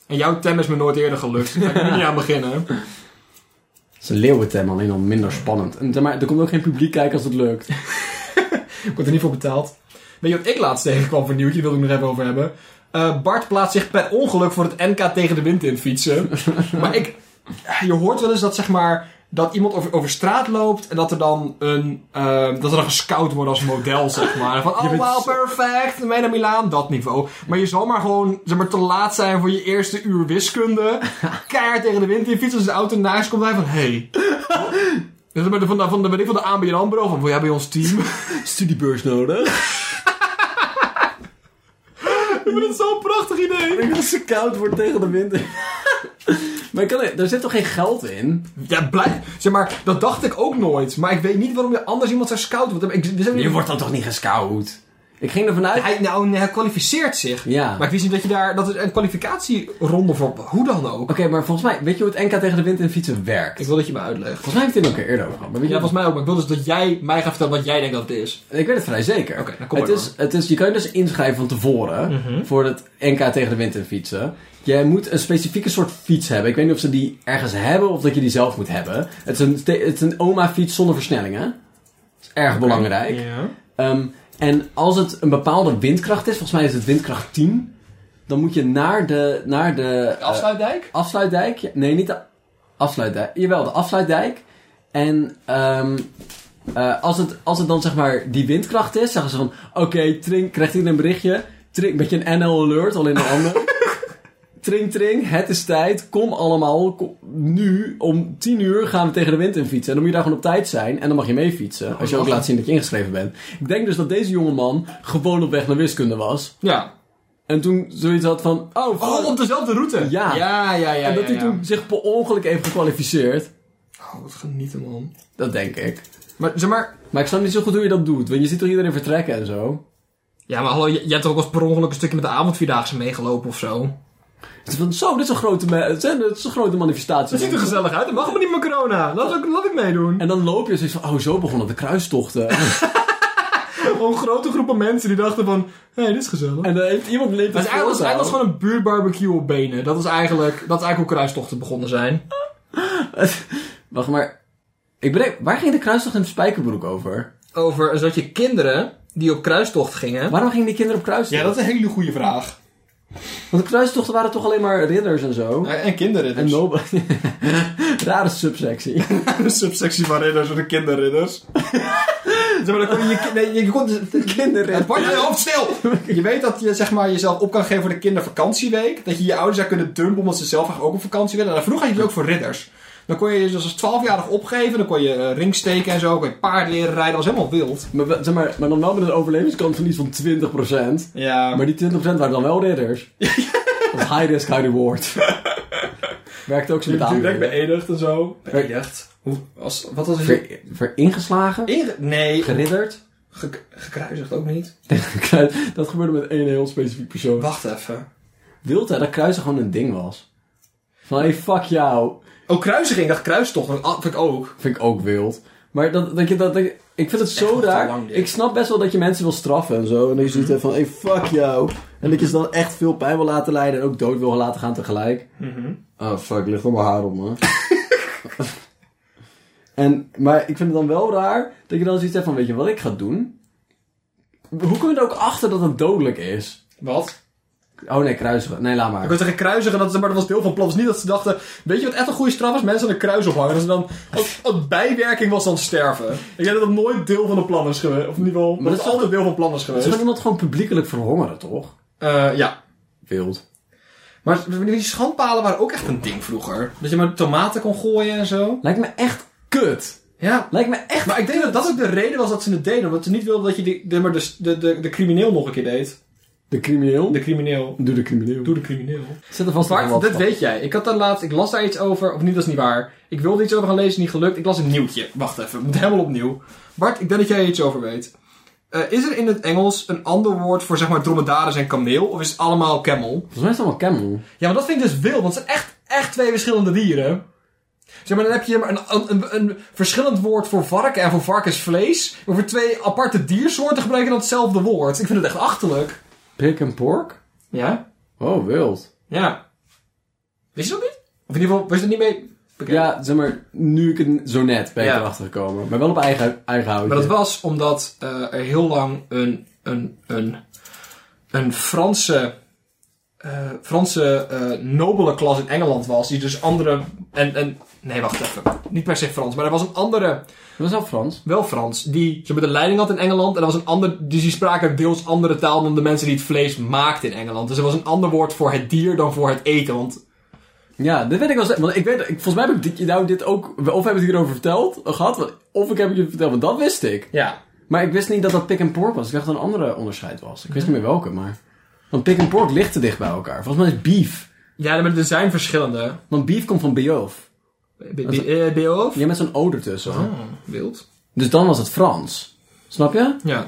Speaker 1: En jouw tem is me nooit eerder gelukt. Daar kan ik nu niet aan beginnen.
Speaker 2: Het is een leeuwentem, alleen al minder spannend. En zeg maar, er komt ook geen publiek kijken als het lukt.
Speaker 1: Ik word er niet voor betaald. Weet je wat ik laatst tegenkwam voor nieuwtje? Daar wil ik nog even over hebben. Eh, Bart plaatst zich per ongeluk voor het NK tegen de wind in fietsen. maar ik, je hoort wel eens dat zeg maar... Dat iemand over, over straat loopt en dat er dan een. eh, dat er dan gescout wordt als model, zeg maar. Van, oh,
Speaker 2: bent
Speaker 1: wow,
Speaker 2: zo-
Speaker 1: perfect, mee naar Milaan, dat niveau. Maar je zal maar gewoon, zeg maar, te laat zijn voor je eerste uur wiskunde. Keihard tegen de wind in fietsen. Als de auto naast komt, hij van, hey. Dus dan ben je van de, van de, weet ik, van de ABN Ambro, van, wil jij bij ons team?
Speaker 2: Studiebeurs nodig.
Speaker 1: Ik vind het zo'n prachtig idee.
Speaker 2: Als ze koud wordt tegen de winter. maar ik kan, er zit toch geen geld in?
Speaker 1: Ja, blijf. Zeg maar, dat dacht ik ook nooit. Maar ik weet niet waarom je anders iemand zou scouten. Want ik, we zijn
Speaker 2: Je wordt dan toch niet gescout? Ik ging ervan uit.
Speaker 1: hij, nou, nee, hij kwalificeert zich.
Speaker 2: Ja.
Speaker 1: Maar ik wist niet dat je daar... Dat is een kwalificatieronde voor... Hoe dan ook.
Speaker 2: Oké, maar volgens mij, weet je hoe het NK tegen de wind en fietsen werkt?
Speaker 1: Ik wil dat je me uitlegt.
Speaker 2: Volgens mij heeft hij het ook een keer eerder over gehad. Maar weet
Speaker 1: Ja,
Speaker 2: je,
Speaker 1: volgens mij ook. Maar ik wil dus dat jij mij gaat vertellen wat jij denkt dat het is.
Speaker 2: Ik weet het vrij zeker.
Speaker 1: Oké, dan kom
Speaker 2: het
Speaker 1: maar Mhm.
Speaker 2: is, het is, Je kan je dus inschrijven van tevoren voor het NK tegen de wind en fietsen. Jij moet een specifieke soort fiets hebben. Ik weet niet of ze die ergens hebben of dat je die zelf moet hebben. Het is een, ste- het is een oma-fiets zonder versnellingen. Dat is erg belangrijk.
Speaker 1: Ja.
Speaker 2: Ehm, en als het een bepaalde windkracht is, volgens mij is het windkracht 10, dan moet je naar de, naar de eh,
Speaker 1: Afsluitdijk?
Speaker 2: afsluitdijk. Ja, Nee, niet de afsluitdijk. Jawel, de afsluitdijk. En ehm, eh, als, het, als het dan zeg maar die windkracht is, zeggen ze van: Oké, Tring, krijgt iedereen een berichtje? Tring, beetje een NL alert, al in de handen. Tring, tring, het is tijd. Kom allemaal. kom- nu om 10 uur gaan we tegen de wind in fietsen. En dan moet je daar gewoon op tijd zijn. En dan mag je mee fietsen. Als je ook laat zien dat je ingeschreven bent. Ik denk dus dat deze jongeman gewoon op weg naar wiskunde was.
Speaker 1: Ja.
Speaker 2: En toen zoiets had van: Oh, fuck.
Speaker 1: Oh, op dezelfde route?
Speaker 2: Ja.
Speaker 1: Ja, ja, ja.
Speaker 2: en dat
Speaker 1: ja,
Speaker 2: hij
Speaker 1: ja.
Speaker 2: toen zich per ongeluk heeft gekwalificeerd.
Speaker 1: Oh, wat genieten, man.
Speaker 2: Dat denk ik.
Speaker 1: Maar zeg maar...
Speaker 2: Maar ik snap niet zo goed hoe je dat doet. Want je ziet toch iedereen vertrekken en zo.
Speaker 1: Ja, maar hallo, j- jij hebt toch ook als per ongeluk een stukje met de avondvierdaagse meegelopen of zo?
Speaker 2: Het is van, zo, dit is een grote, me- het zijn- dit is een grote manifestatie.
Speaker 1: Dat ziet er gezellig uit. Dat mag maar niet met corona. Laat, ik- laat ik meedoen.
Speaker 2: En dan loop je en zoiets van, oh, zo begonnen de kruistochten.
Speaker 1: Gewoon grote groepen mensen die dachten van, hé, hey, dit is gezellig.
Speaker 2: en dan heeft iemand leed
Speaker 1: Dat
Speaker 2: het
Speaker 1: is eigenlijk, dat is
Speaker 2: voortouw.
Speaker 1: eigenlijk gewoon een buurtbarbecue op benen. Dat is eigenlijk, dat is eigenlijk hoe kruistochten begonnen zijn.
Speaker 2: Wacht, maar... Ik bedenk, waar ging de kruistocht in de Spijkerbroek over?
Speaker 1: Over zodat je kinderen die op kruistocht gingen.
Speaker 2: Waarom gingen die kinderen op
Speaker 4: is
Speaker 2: kruistocht?
Speaker 4: een hele goede vraag.
Speaker 2: Want de kruistochten waren toch alleen maar ridders en zo?
Speaker 4: En kinderen
Speaker 1: dus-
Speaker 2: En nobel. Rare subsectie.
Speaker 4: een subsectie van ridders voor de kinderridders.
Speaker 1: Zeg maar, dan kon je je, kind- nee, je kon,
Speaker 2: Kinderen.
Speaker 4: Bart, je hoofd stil! Je weet dat je zeg maar, jezelf op kan geven voor de kindervakantieweek. Dat je je ouders zou kunnen dumpen omdat ze zelf eigenlijk ook op vakantie willen. En vroeger had je het ook voor ridders. Dan kon je je dus als 12-jarig opgeven. Dan kon je eh, ringsteken en zo. Kon je paard leren rijden. Dat was helemaal wild.
Speaker 2: Maar, we- zeg maar, maar dan wel met een overlevingskans van iets van 20%.
Speaker 4: Ja.
Speaker 2: Maar die 20% waren dan wel ridders. Dat is high risk, high reward. Werkt ook zo met aandelen.
Speaker 4: beëdigd en zo. Beëdigd? Hoe, als, wat was het?
Speaker 2: Ver, ver ingeslagen,
Speaker 4: Inge- nee,
Speaker 2: geridderd.
Speaker 4: ge- gekruisigd ook niet.
Speaker 2: Dat gebeurde met één heel specifiek persoon.
Speaker 4: Wacht even.
Speaker 2: Wilde dat kruisen gewoon een ding was. Van hey, fuck jou.
Speaker 4: Oh, kruisiging, dat kruistocht. Dat vind ik ook.
Speaker 2: Vind ik ook wild. Maar dat, dat je dat. dat- ik vind het zo
Speaker 4: nog te
Speaker 2: raar.
Speaker 4: lang, dit.
Speaker 2: Ik snap best wel dat je mensen wil straffen en zo. En dat je zoiets hebt van hey, fuck jou. En dat je ze dan echt veel pijn wil laten leiden en ook dood wil laten gaan tegelijk.
Speaker 4: Mhm.
Speaker 2: Oh fuck, ligt al mijn haar op man. en, maar ik vind het dan wel raar dat je dan zoiets hebt van, weet je wat ik ga doen? Hoe kom je er ook achter dat het dodelijk is?
Speaker 4: Wat?
Speaker 2: Oh nee, kruisigen. Nee, laat
Speaker 1: Ik
Speaker 2: maar.
Speaker 1: wil zeggen kruisigen, dat, is- maar dat was deel van het plan. Het was niet dat ze dachten, weet je wat echt een goede straf was? Mensen aan een kruis ophangen. Dat ze dan, als, als bijwerking was dan sterven. Ik denk dat dat nooit deel van de plan is geweest. Of in ieder geval,
Speaker 2: dat
Speaker 1: dat is
Speaker 2: is
Speaker 1: altijd deel van plan is
Speaker 2: Het is
Speaker 1: geweest.
Speaker 2: gewoon iemand gewoon publiekelijk verhongeren, toch?
Speaker 1: Eh, ja.
Speaker 2: Wild.
Speaker 5: Maar die schandpalen waren ook echt een ding vroeger. Dat je maar tomaten kon gooien en zo.
Speaker 2: Lijkt me echt kut.
Speaker 5: Ja.
Speaker 2: Lijkt me echt...
Speaker 1: Maar ik denk dat dat ook de reden was dat ze het deden. Omdat ze niet wilden dat je de, de, maar de, de, de, de crimineel nog een keer deed.
Speaker 2: De crimineel?
Speaker 1: De crimineel.
Speaker 2: Doe de crimineel.
Speaker 1: Doe de crimineel.
Speaker 2: Zit er vast nog
Speaker 1: Maar
Speaker 2: wat
Speaker 1: dat
Speaker 2: van.
Speaker 1: weet jij. Ik had daar laatst, ik las daar iets over, of niet, dat is niet waar. Ik wilde iets over gaan lezen, niet gelukt. Ik las een nieuwtje. Wacht even, we moeten helemaal opnieuw. Bart, ik denk dat jij er iets over weet. Eh, is er in het Engels een ander woord voor zeg maar dromedaris en kameel? Of is het allemaal camel?
Speaker 2: Volgens mij is het allemaal camel.
Speaker 1: Ja, maar dat vind ik dus wild, want het zijn echt, echt twee verschillende dieren. Zeg maar, dan heb je maar een, een, een verschillend woord voor varken en voor varkensvlees. Maar voor twee aparte diersoorten gebruiken dan hetzelfde woord. Ik vind het echt achterlijk.
Speaker 2: Pik en pork?
Speaker 1: Ja?
Speaker 2: Oh, wild.
Speaker 1: Ja. Wist je dat niet? Of in ieder geval, was je er niet mee bekend?
Speaker 2: Ja, zeg maar, nu ik het zo net ben ik
Speaker 1: Ja.
Speaker 2: erachter gekomen. Maar wel op eigen, eigen houtje.
Speaker 1: Maar dat was omdat eh, er heel lang een, een, een, een Franse, eh, Franse eh, nobele klas in Engeland was. Die dus andere. En, en, nee, wacht even. Niet per se Frans, maar er was een andere.
Speaker 2: Dat was wel Frans.
Speaker 1: Wel Frans. Die zeg maar, de leiding had in Engeland. En er was een ander. Dus die spraken deels andere taal dan de mensen die het vlees maakten in Engeland. Dus er was een ander woord voor het dier dan voor het eten. Want
Speaker 2: Ja, dit weet ik wel zeker. Want ik weet, ik, volgens mij heb ik dit, nou, dit ook... Of heb ik het hierover verteld, eh, gehad. want- Of ik heb het je verteld, want dat wist ik.
Speaker 1: ja.
Speaker 2: Maar ik wist niet dat dat pik en pork was. Ik dacht dat een andere onderscheid was. Ik wist niet meer welke, maar... Want pik en pork ligt te dicht bij elkaar. Volgens mij is beef.
Speaker 1: Ja, maar er zijn verschillende.
Speaker 2: Want beef komt van beof.
Speaker 1: Beof?
Speaker 2: Je met zo'n oder tussen.
Speaker 1: eh, Ah. Oh, Wild.
Speaker 2: Dus dan was het Frans. Snap je?
Speaker 1: Ja.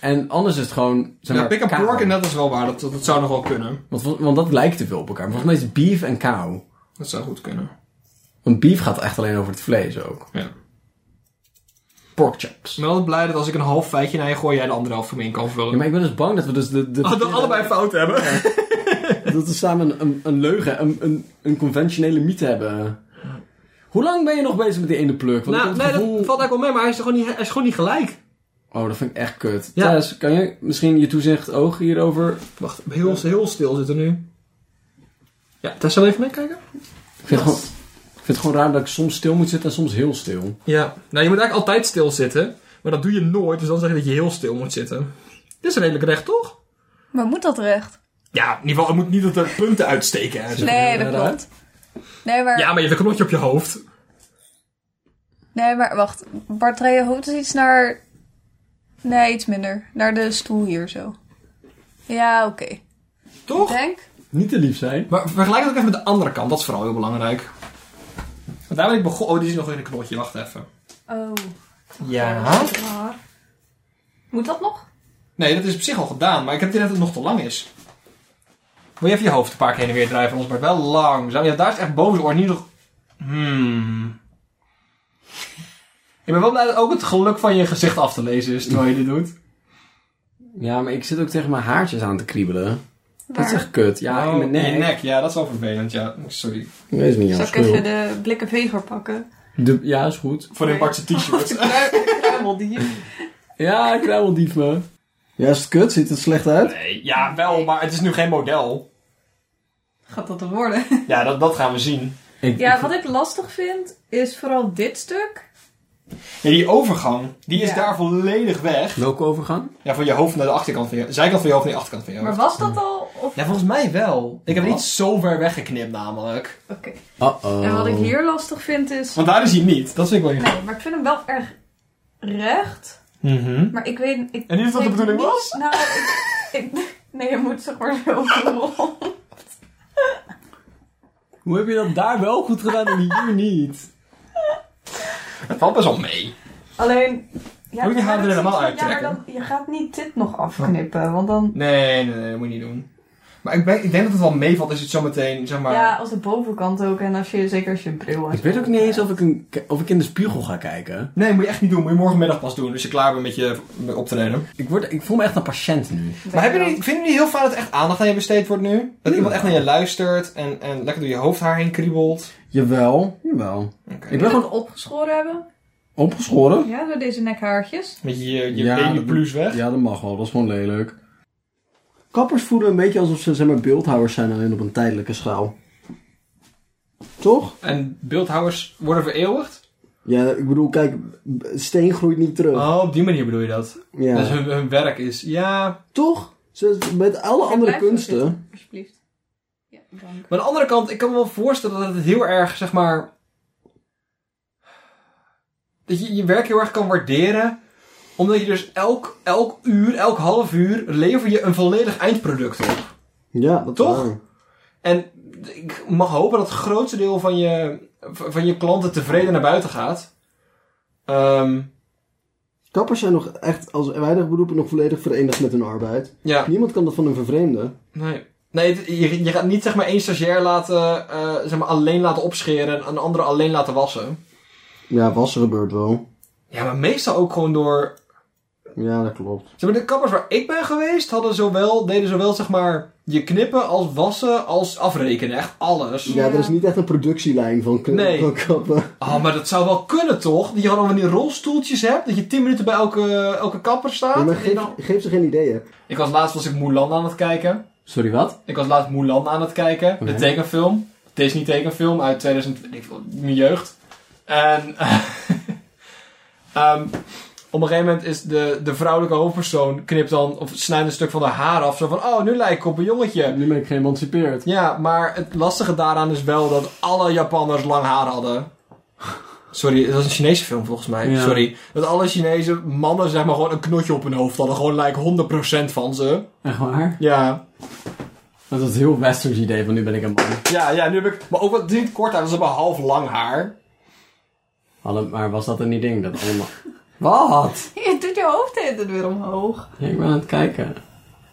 Speaker 2: En anders is het gewoon... Zeg
Speaker 1: Ja,
Speaker 2: maar,
Speaker 1: pick up
Speaker 2: kaal.
Speaker 1: pork en dat is wel waar. Dat, dat, dat zou nog wel kunnen.
Speaker 2: Want, vol- want dat lijkt te veel op elkaar. Maar volgens mij is beef en cow.
Speaker 1: Dat zou goed kunnen.
Speaker 2: Want beef gaat echt alleen over het vlees ook.
Speaker 1: Ja.
Speaker 2: Pork chops.
Speaker 1: Ik ben altijd blij dat als ik een half feitje naar je gooi, jij de andere helft voor me in kan vullen.
Speaker 2: Ja, maar ik ben dus bang dat we dus de, de,
Speaker 1: Ah, dat allebei fout hebben.
Speaker 2: dat we samen een, een, een leugen, een, een, een conventionele mythe hebben. Hoe lang ben je nog bezig met die ene pluk? Want ik
Speaker 1: nou,
Speaker 2: heb het
Speaker 1: nee,
Speaker 2: gevoel-
Speaker 1: dat valt eigenlijk wel mee, maar hij is gewoon niet, hij is gewoon niet gelijk.
Speaker 2: Oh, dat vind ik echt kut.
Speaker 1: Ja.
Speaker 2: Thijs, kan je misschien je toezicht oog hierover...
Speaker 1: Wacht, heel, heel stil zitten nu. Ja, Tess zal even meekijken?
Speaker 2: Ik vind, het gewoon, ik vind het gewoon raar dat ik soms stil moet zitten en soms heel stil.
Speaker 1: Ja. Nou, je moet eigenlijk altijd stil zitten. Maar dat doe je nooit, dus dan zeg je dat je heel stil moet zitten. Dit is redelijk recht, toch?
Speaker 3: Maar moet dat recht?
Speaker 1: Ja, in ieder geval, het moet niet dat er punten uitsteken. en zo.
Speaker 3: Nee, dat
Speaker 2: eruit?
Speaker 3: klopt. Nee, maar,
Speaker 1: Ja, maar je hebt een knotje op je hoofd.
Speaker 3: nee, maar wacht. Bart, draai je hoofd dus iets naar... Nee, iets minder. Naar de stoel hier zo. Ja, oké. Ik
Speaker 1: Toch?
Speaker 3: Denk.
Speaker 2: Niet te lief zijn.
Speaker 1: Maar vergelijk het ook even met de andere kant, dat is vooral heel belangrijk. Want daar ben ik begonnen. Oh, die is nog in een knotje, wacht even.
Speaker 3: Oh.
Speaker 1: Ja.
Speaker 3: Moet dat nog?
Speaker 1: Nee, dat is op zich al gedaan, maar ik heb het idee dat het nog te lang is. Wil je even je hoofd een paar keer heen en weer draaien van ons, maar wel langzaam. Ja, daar is echt boven oor niet nog. Hmm. Ik ben wel blij dat ook het geluk van je gezicht af te lezen is terwijl je dit doet.
Speaker 2: Ja, maar ik zit ook tegen mijn haartjes aan te kriebelen. Dat is
Speaker 3: Waar? Oh,
Speaker 2: echt kut. Ja, in mijn nek.
Speaker 1: Oh, Je nek, ja, dat is wel vervelend, ja. Sorry.
Speaker 2: Dat is niet jouw
Speaker 3: Zal ik even
Speaker 2: schuld.
Speaker 3: de blikken veger pakken?
Speaker 2: De- Ja, is goed.
Speaker 1: Voor een Bartse t-shirt.
Speaker 2: Ja, kruimeldief me. Ja, is het kut? Ziet het slecht uit?
Speaker 1: Nee, ja, wel, maar het is nu geen model.
Speaker 3: Gaat dat er worden?
Speaker 1: Ja, dat, dat gaan we zien.
Speaker 2: Ik,
Speaker 3: Ja, wat ik lastig vind, is vooral dit stuk.
Speaker 1: Ja, die overgang, die is
Speaker 3: Ja.
Speaker 1: daar volledig weg.
Speaker 2: Welke overgang?
Speaker 1: Ja, van je hoofd naar de achterkant van je... Zijkant van je hoofd naar de achterkant van je
Speaker 3: Maar
Speaker 1: hoofd.
Speaker 3: was dat al? Of...
Speaker 1: Ja, volgens mij wel. Ik heb het
Speaker 2: Wat?
Speaker 1: niet zo ver weggeknipt namelijk.
Speaker 3: Oké.
Speaker 2: Uh-oh.
Speaker 3: En wat ik hier lastig vind is...
Speaker 2: Oh.
Speaker 1: Want daar is hij niet. Dat vind ik wel interessant.
Speaker 3: Nee, maar ik vind hem wel erg recht.
Speaker 1: Mhm.
Speaker 3: Maar ik weet... Ik
Speaker 1: En is dat de
Speaker 3: weet
Speaker 1: bedoeling
Speaker 3: niet-
Speaker 1: was?
Speaker 3: Nou, ik, ik- nee, je moet zeg maar zo rond.
Speaker 2: Hoe heb je dat daar wel goed gedaan en hier niet?
Speaker 1: Het valt best wel mee.
Speaker 3: Alleen... Ja,
Speaker 1: Moet je haar er
Speaker 3: dat is
Speaker 1: helemaal
Speaker 3: iets van,
Speaker 1: uittrekken?
Speaker 3: Ja, maar dan, je gaat niet dit nog afknippen, want dan...
Speaker 1: Nee, nee, nee. Dat moet je niet doen. Maar ik, ben, ik denk dat het wel meevalt als je het zo meteen, zeg maar...
Speaker 3: Ja, als de bovenkant ook en als je, zeker als je bril
Speaker 2: Ik weet ook niet eens of ik, een, of ik in de spiegel ga kijken.
Speaker 1: Nee, moet je echt niet doen. Moet je morgenmiddag pas doen. Dus je klaar bent met je met op te nemen.
Speaker 2: Ik, word, ik voel me echt een patiënt nu.
Speaker 1: Maar heb je niet, vind je niet heel vaak dat er echt aandacht aan je besteed wordt nu? Dat iemand echt naar je luistert en, en lekker door je hoofdhaar heen kriebelt.
Speaker 2: Jawel. Jawel.
Speaker 1: Oké.
Speaker 2: Ik ben gewoon
Speaker 3: opgeschoren hebben?
Speaker 2: opgeschoren.
Speaker 3: Ja, door deze nekhaartjes.
Speaker 1: Met je, je
Speaker 2: Ja,
Speaker 1: babyplus
Speaker 2: dat-
Speaker 1: weg.
Speaker 2: Ja, dat mag wel. Dat is gewoon lelijk.
Speaker 6: Kappers voelen een beetje alsof ze zeg maar, beeldhouwers zijn, alleen op een tijdelijke schaal. Toch?
Speaker 1: En beeldhouwers worden vereeuwigd?
Speaker 6: Ja, ik bedoel, kijk, b- steen groeit niet terug.
Speaker 1: Oh, op die manier bedoel je dat.
Speaker 6: ja.
Speaker 1: Dus hun, hun werk is, ja...
Speaker 6: Toch? Ze, met alle
Speaker 3: Ja,
Speaker 6: andere
Speaker 3: blijf zo
Speaker 6: kunsten.
Speaker 3: zitten, Alsjeblieft. Ja, dank.
Speaker 1: Maar aan de andere kant, ik kan me wel voorstellen dat het heel erg, zeg maar... Dat je je werk heel erg kan waarderen. Omdat je dus elk, elk uur, elk half uur, lever je een volledig eindproduct op.
Speaker 6: Ja, dat is
Speaker 1: Toch?
Speaker 6: waar.
Speaker 1: En ik mag hopen dat het grootste deel van je, van je klanten tevreden naar buiten gaat. Ehm,
Speaker 6: Kappers zijn nog echt als weinig beroepen nog volledig verenigd met hun arbeid.
Speaker 1: ja,
Speaker 6: Niemand kan dat van hun vervreemden.
Speaker 1: nee. Nee, het- je, je gaat niet zeg maar één stagiair laten, eh, zeg maar alleen laten opscheren en een andere alleen laten wassen.
Speaker 6: Ja, wassen gebeurt wel.
Speaker 1: Ja, maar meestal ook gewoon door
Speaker 6: Ja, dat klopt.
Speaker 1: Zeg maar, de kappers waar ik ben geweest hadden zowel, deden zowel zeg maar je knippen als wassen als afrekenen. Echt alles.
Speaker 6: Ja,
Speaker 3: Ja.
Speaker 6: er is niet echt een productielijn van, k-
Speaker 1: Nee.
Speaker 6: van kappen.
Speaker 1: Ah, maar dat zou wel kunnen toch? Dat je gewoon van die rolstoeltjes hebt. Dat je 10 minuten bij elke, elke kapper staat.
Speaker 6: Ja, maar
Speaker 1: En
Speaker 6: geef,
Speaker 1: dan-
Speaker 6: geef ze geen ideeën.
Speaker 7: Ik was laatst was ik Mulan aan het kijken.
Speaker 2: Sorry, wat?
Speaker 7: Ik was laatst Mulan aan het kijken.
Speaker 2: Oké.
Speaker 7: De tekenfilm. Disney tekenfilm uit 2000, weet ik veel, mijn jeugd. En
Speaker 1: Ehm, op een gegeven moment is de, de vrouwelijke hoofdpersoon knipt dan of snijdt een stuk van haar haar af. Zo van, oh, nu lijk ik op een jongetje.
Speaker 2: Nu ben ik geëmancipeerd.
Speaker 1: Ja, maar het lastige daaraan is wel dat alle Japanners lang haar hadden. Sorry, dat was een Chinese film volgens mij.
Speaker 2: Ja.
Speaker 1: Sorry. Dat alle Chinese mannen zeg maar gewoon een knotje op hun hoofd hadden. Gewoon like 100% van ze.
Speaker 2: Echt waar?
Speaker 1: Ja.
Speaker 2: Dat was een heel westerns idee van nu ben ik een man.
Speaker 1: Ja, ja, nu heb ik... Maar ook wat het is niet kort haar, dat is hebben half lang haar.
Speaker 2: Alle- maar was dat een niet ding? Dat allemaal... Wat?
Speaker 3: Je doet je hoofd de hele tijd weer omhoog.
Speaker 2: Ja, ik ben aan het kijken.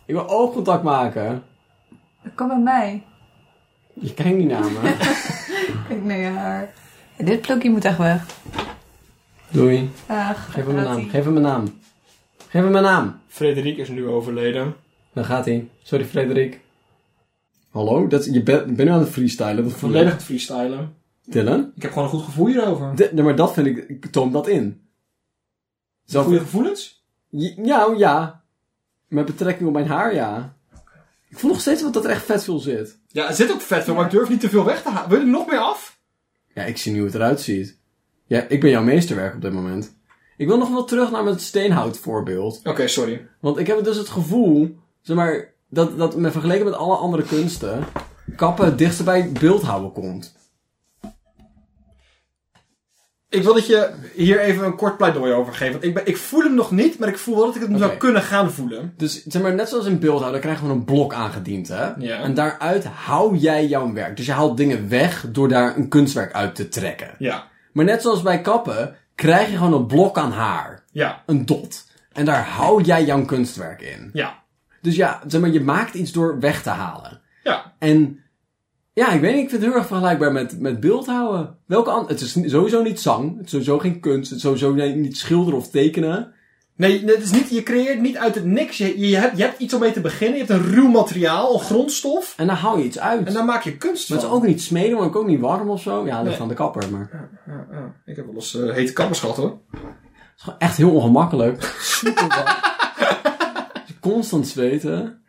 Speaker 2: Ik wil oogcontact maken.
Speaker 3: Dat kan bij mij.
Speaker 2: Je kijkt niet naar me.
Speaker 3: Kijk naar je haar. Ja, dit plukje moet echt weg.
Speaker 2: Doei.
Speaker 3: Ach,
Speaker 2: Geef hem een
Speaker 3: gaat-ie.
Speaker 2: naam. Geef hem een naam. Geef hem een naam.
Speaker 1: Frederik is nu overleden.
Speaker 2: Dan gaat hij. Sorry, Frederik.
Speaker 6: Hallo? Dat, je bent ben nu aan het freestylen. Dat voel
Speaker 1: Volledig
Speaker 6: ik.
Speaker 1: het freestylen.
Speaker 2: Dylan?
Speaker 1: Ik heb gewoon een goed gevoel hierover.
Speaker 2: De- nee, maar dat vind ik... Ik toon dat in. Zo
Speaker 1: Goede gevoelens?
Speaker 2: J- Ja, oh ja. Met betrekking op mijn haar, ja. Ik voel nog steeds wat dat er echt vet veel zit.
Speaker 1: Ja, er zit ook vet veel, maar ik durf niet te veel weg te halen. Wil je er nog meer af?
Speaker 2: Ja, ik zie nu hoe het eruit ziet. Ja, ik ben jouw meesterwerk op dit moment. Ik wil nog wel terug naar mijn steenhoutvoorbeeld.
Speaker 1: Oké, sorry.
Speaker 2: Want ik heb dus het gevoel, zeg maar, dat, dat me vergeleken met alle andere kunsten, kappen het dichtst bij beeldhouden komt.
Speaker 1: Ik wil dat je hier even een kort pleidooi over geeft. Want ik, ben, ik voel hem nog niet, maar ik voel wel dat ik het
Speaker 2: Oké.
Speaker 1: zou kunnen gaan voelen.
Speaker 2: Dus zeg maar, net zoals in beeldhouden krijgen we een blok aangediend, hè?
Speaker 1: Ja.
Speaker 2: En daaruit hou jij jouw werk. Dus je haalt dingen weg door daar een kunstwerk uit te trekken.
Speaker 1: Ja.
Speaker 2: Maar net zoals bij kappen, krijg je gewoon een blok aan haar.
Speaker 1: Ja.
Speaker 2: Een dot. En daar hou jij jouw kunstwerk in.
Speaker 1: Ja.
Speaker 2: Dus ja, zeg maar, je maakt iets door weg te halen.
Speaker 1: Ja.
Speaker 2: En ja, ik weet niet, ik vind het heel erg vergelijkbaar met, met beeldhouden. Welke an- het is ni- sowieso niet zang, het is sowieso geen kunst, het is sowieso ni- niet schilderen of tekenen.
Speaker 1: Nee, het is niet, je creëert niet uit het niks. Je, je, hebt, je hebt iets om mee te beginnen. Je hebt een ruw materiaal, een grondstof.
Speaker 2: En daar haal je iets uit.
Speaker 1: En daar maak je kunst van.
Speaker 2: Maar het is ook niet smeden, maar ook niet warm of zo. Ja, dat ligt
Speaker 1: Nee.
Speaker 2: aan de kapper, maar
Speaker 1: Ja, ja. Ik heb wel eens eh, hete kappers gehad hoor.
Speaker 2: het is gewoon echt heel ongemakkelijk. Super warm. Constant zweten.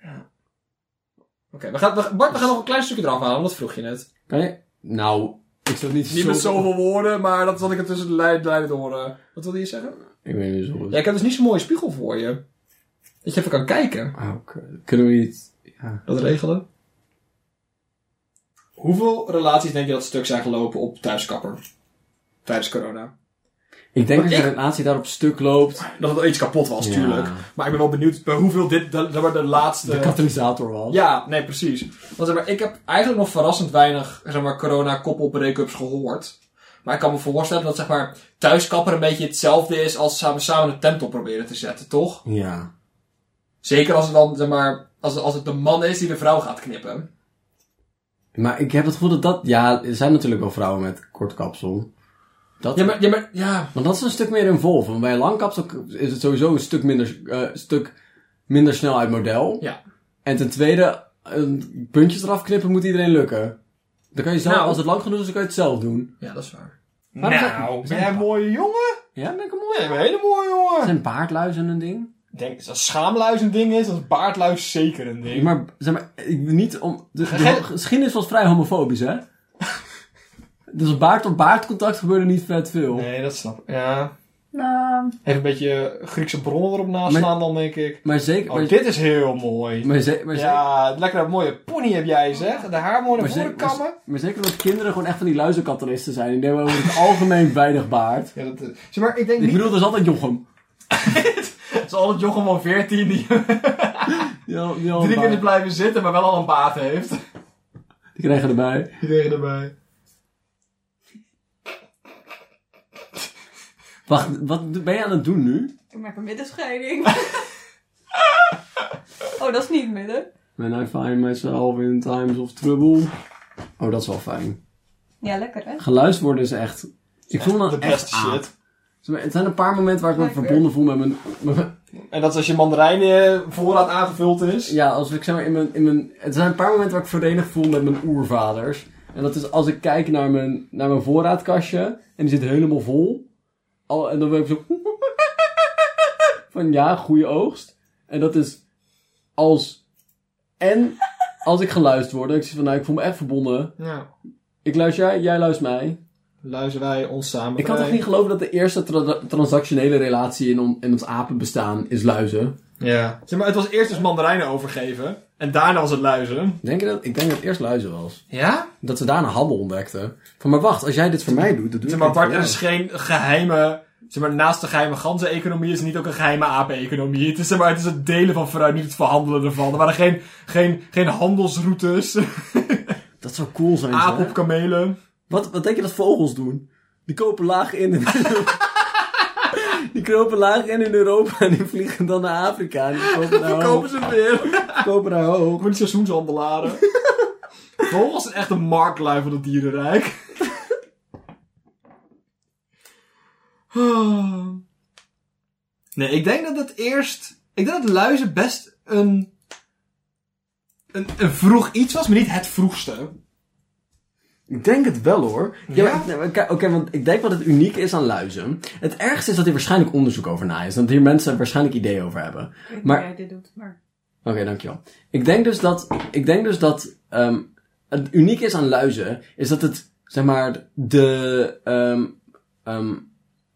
Speaker 1: Oké, we gaan, we- Bart, we gaan nog een klein stukje eraf halen, want dat vroeg je net.
Speaker 2: Kan je... Nou, ik zat niet
Speaker 1: Niet met zoveel woorden, maar dat zal ik er tussen de lijn- lijnen door. eh, Wat wilde je zeggen?
Speaker 2: Ik weet niet zo goed.
Speaker 1: Ja, ik heb dus niet zo'n mooie spiegel voor je. Dat je even kan kijken.
Speaker 2: Oh, oké. Kunnen we niet... Ja.
Speaker 1: Dat regelen. Hoeveel relaties denk je dat stuk zijn gelopen op thuiskapper? Tijdens corona.
Speaker 2: Ik denk
Speaker 1: Maar
Speaker 2: dat je
Speaker 1: ik-
Speaker 2: relatie daar op stuk loopt.
Speaker 1: Dat het wel iets kapot was,
Speaker 2: Ja.
Speaker 1: tuurlijk. Maar ik ben wel benieuwd bij hoeveel dit de, de, de laatste...
Speaker 2: De katalysator was.
Speaker 1: Ja, nee, precies. Want zeg maar, ik heb eigenlijk nog verrassend weinig zeg maar, corona-koppel-breakups gehoord. Maar ik kan me voorstellen dat zeg maar, thuiskapper een beetje hetzelfde is als samen, samen een tent op proberen te zetten, toch?
Speaker 2: Ja.
Speaker 1: Zeker als het dan, zeg maar, als, als het de man is die de vrouw gaat knippen.
Speaker 2: Maar ik heb het gevoel dat dat... Ja, er zijn natuurlijk wel vrouwen met kort kapsel. Dat...
Speaker 1: Ja, maar, ja, maar, ja.
Speaker 2: Want dat is een stuk meer involved. Want bij lang kapsel is het sowieso een stuk minder, eh, stuk minder snel uit model.
Speaker 1: Ja.
Speaker 2: En ten tweede, een puntjes eraf knippen moet iedereen lukken. Dan kan je zelf,
Speaker 1: Nou.
Speaker 2: als het lang genoeg is, dan kan je het zelf doen.
Speaker 1: ja, dat is waar.
Speaker 2: Waarom zijn-
Speaker 1: Nou,
Speaker 7: ben jij een mooie jongen?
Speaker 2: Ja, ben ik een
Speaker 1: Nee, een hele mooie jongen.
Speaker 2: Zijn baardluizen een ding?
Speaker 1: Ik denk, als schaamluis een ding is, als baardluis zeker een ding.
Speaker 2: Maar, zeg maar, ik, niet om... De, de
Speaker 1: Geen-
Speaker 2: geschiedenis was vrij homofobisch, hè? Dus baard-op-baard contact gebeurde niet vet veel.
Speaker 1: Nee, dat snap ik. Ja.
Speaker 3: Nou,
Speaker 1: Even een beetje Griekse bronnen erop naast slaan dan, denk ik.
Speaker 2: Maar zeker...
Speaker 1: Oh,
Speaker 2: maar,
Speaker 1: dit is heel mooi.
Speaker 2: maar, ze- maar, ze-
Speaker 1: Ja, lekker mooie pony heb
Speaker 8: Oh,
Speaker 1: jij, zeg. De haar mooi naar
Speaker 2: maar, ze-
Speaker 1: voren kammen.
Speaker 2: maar, maar zeker dat kinderen gewoon echt van die luizenkatalisten zijn. Die nemen over het algemeen weinig baard.
Speaker 1: Ja, dat, eh, zeg maar, ik denk
Speaker 2: Ik
Speaker 1: niet...
Speaker 2: bedoel, dat is altijd Jochem.
Speaker 8: Het is altijd Jochem van 14 die
Speaker 2: Die, al- die, al
Speaker 8: drie
Speaker 2: een
Speaker 8: keer
Speaker 2: baard-
Speaker 8: is blijven zitten, maar wel al een baat heeft.
Speaker 2: die kregen erbij.
Speaker 8: Iedereen erbij.
Speaker 2: Wacht, wat ben je aan het doen nu?
Speaker 3: ik maak een middenscheiding. oh, dat is niet midden.
Speaker 2: When I find myself in times of trouble. Oh, dat is wel fijn.
Speaker 3: Ja, lekker hè?
Speaker 2: Geluisterd worden is echt... Ik voel me
Speaker 1: De
Speaker 2: dan
Speaker 1: beste
Speaker 2: echt aan.
Speaker 1: shit.
Speaker 2: Zeg maar, Het zijn een paar momenten waar ik me
Speaker 3: Blijkbaar.
Speaker 2: verbonden voel met mijn... met mijn-
Speaker 1: En dat is als je mandarijn eh, voorraad aangevuld is.
Speaker 2: ja, als ik zeg maar in mijn, in mijn... Er zijn een paar momenten waar ik verenigd voel met mijn oervaders. En dat is als ik kijk naar mijn, naar mijn voorraadkastje. En die zit helemaal vol. Al, en dan ben ik zo... Van ja, goede oogst. En dat is als... En als ik geluisterd word. dat Ik zeg van nou, ik voel me echt verbonden.
Speaker 1: Ja.
Speaker 2: Ik luister jij, jij luistert mij.
Speaker 1: Luisteren wij ons samen.
Speaker 2: Ik kan
Speaker 1: vrij.
Speaker 2: toch niet geloven dat de eerste tra- transactionele relatie in, on- in ons apenbestaan is luizen.
Speaker 1: Ja.
Speaker 8: Zeg maar, het was eerst dus mandarijnen overgeven. En daarna was het luizen.
Speaker 2: Denk je dat? Ik denk dat het eerst luizen was.
Speaker 8: Ja?
Speaker 2: Dat ze daarna hadden ontdekten. Van, maar wacht, als jij dit voor
Speaker 6: Voor
Speaker 2: mij...
Speaker 6: mij doet, dat doe
Speaker 8: Zeg
Speaker 6: ik
Speaker 8: maar,
Speaker 6: niet
Speaker 8: Bart,
Speaker 6: voor
Speaker 8: er is dus
Speaker 6: jou.
Speaker 8: geen geheime... Zeg maar, naast de geheime ganzen-economie is het niet ook een geheime apen-economie. Het is, zeg maar, het is het delen van fruit, niet het verhandelen ervan. Er waren geen, geen, geen handelsroutes.
Speaker 2: Dat zou cool zijn,
Speaker 8: Aap
Speaker 2: zeg.
Speaker 8: op kamelen.
Speaker 2: Wat, wat denk je dat vogels doen? Die kopen laag in... in die kropen laag in in Europa en die vliegen dan naar Afrika. En die kopen naar hoog.
Speaker 8: Kopen ze weer.
Speaker 2: Kopen naar hoog.
Speaker 8: Gewoon die seizoenshandelaren. Vogels zijn echt een marktlui van het dierenrijk. Ah. nee, ik denk dat het eerst... Ik denk dat luizen best een... Een, een vroeg iets was, maar niet het vroegste.
Speaker 2: Ik denk het wel hoor. Ja,
Speaker 8: Ja?
Speaker 2: maar ik- nee, maar kijk, Oké, want ik denk wat het uniek is aan luizen. Het ergste is dat hier waarschijnlijk onderzoek over na is. Dat hier mensen waarschijnlijk ideeën over hebben.
Speaker 3: Ik weet niet
Speaker 2: Maar-
Speaker 3: hoe jij dit doet, maar...
Speaker 2: Oké, dankjewel. Ik denk dus dat, ik denk dus dat ehm, het uniek is aan luizen, is dat het, zeg maar, de ehm, ehm,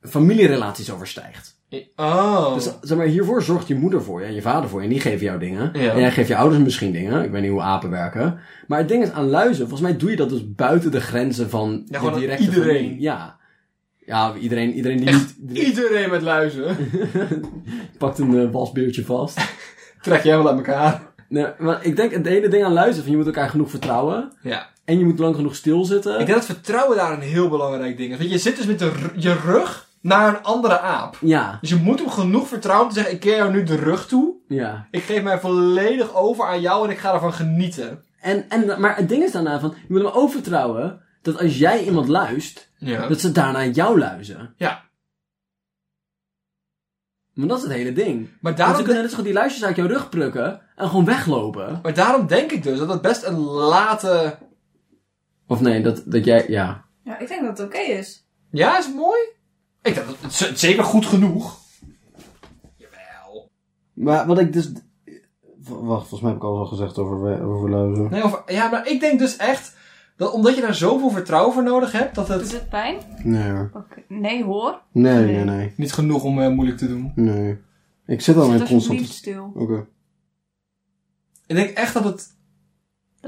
Speaker 2: familierelaties overstijgt.
Speaker 1: Oh.
Speaker 2: Dus zeg maar, hiervoor zorgt je moeder voor je en je vader voor je en die geven jou dingen.
Speaker 1: Ja.
Speaker 2: En jij geeft je ouders misschien dingen. Ik weet niet hoe apen werken. Maar het ding is, aan luizen, volgens mij doe je dat dus buiten de grenzen van
Speaker 1: Ja,
Speaker 2: je
Speaker 1: gewoon aan
Speaker 2: directe
Speaker 1: iedereen.
Speaker 2: familie. Ja. Ja, iedereen, iedereen die niet...
Speaker 1: Iedereen met luizen.
Speaker 2: pakt een eh, wasbeertje vast.
Speaker 1: Trek jij wel uit elkaar.
Speaker 2: Nee, maar ik denk het hele ding aan luisteren van je moet elkaar genoeg vertrouwen.
Speaker 1: Ja.
Speaker 2: En je moet lang genoeg stilzitten.
Speaker 1: Ik denk dat vertrouwen daar een heel belangrijk ding is. Want je zit dus met de r- je rug naar een andere aap.
Speaker 2: Ja,
Speaker 1: Dus je moet hem genoeg vertrouwen om te zeggen, ik keer jou nu de rug toe.
Speaker 2: ja.
Speaker 1: Ik geef mij volledig over aan jou en ik ga ervan genieten.
Speaker 2: En, en, maar het ding is daarna van, je moet hem ook vertrouwen dat als jij iemand luist,
Speaker 1: Ja.
Speaker 2: dat ze daarna jou luizen.
Speaker 1: Ja.
Speaker 2: Maar dat is het hele ding.
Speaker 1: Maar
Speaker 2: Want ze
Speaker 1: daarom,
Speaker 2: kunnen net zo goed die luisjes uit jouw rug plukken en gewoon weglopen.
Speaker 1: maar daarom denk ik dus dat het best een late...
Speaker 2: Of nee, dat, dat jij, ja.
Speaker 3: Ja, ik denk dat het oké is.
Speaker 1: Ja, is het mooi? Ik denk dat het, het is zeker goed genoeg. Jawel.
Speaker 6: Maar wat ik dus... W- Wacht, volgens mij heb ik alles al gezegd over, we- over luizen.
Speaker 1: Nee, of, ja, maar ik denk dus echt dat omdat je daar zoveel vertrouwen voor nodig hebt, dat het...
Speaker 3: Doet het pijn?
Speaker 6: Nee hoor.
Speaker 3: Oké. Nee hoor.
Speaker 6: Nee,
Speaker 3: Nee.
Speaker 6: nee, nee.
Speaker 1: Niet genoeg om eh, moeilijk te doen.
Speaker 6: Nee. Ik zit al
Speaker 3: Zit
Speaker 6: in
Speaker 3: alsjeblieft
Speaker 6: constant...
Speaker 3: stil.
Speaker 6: Oké.
Speaker 1: Ik denk echt dat het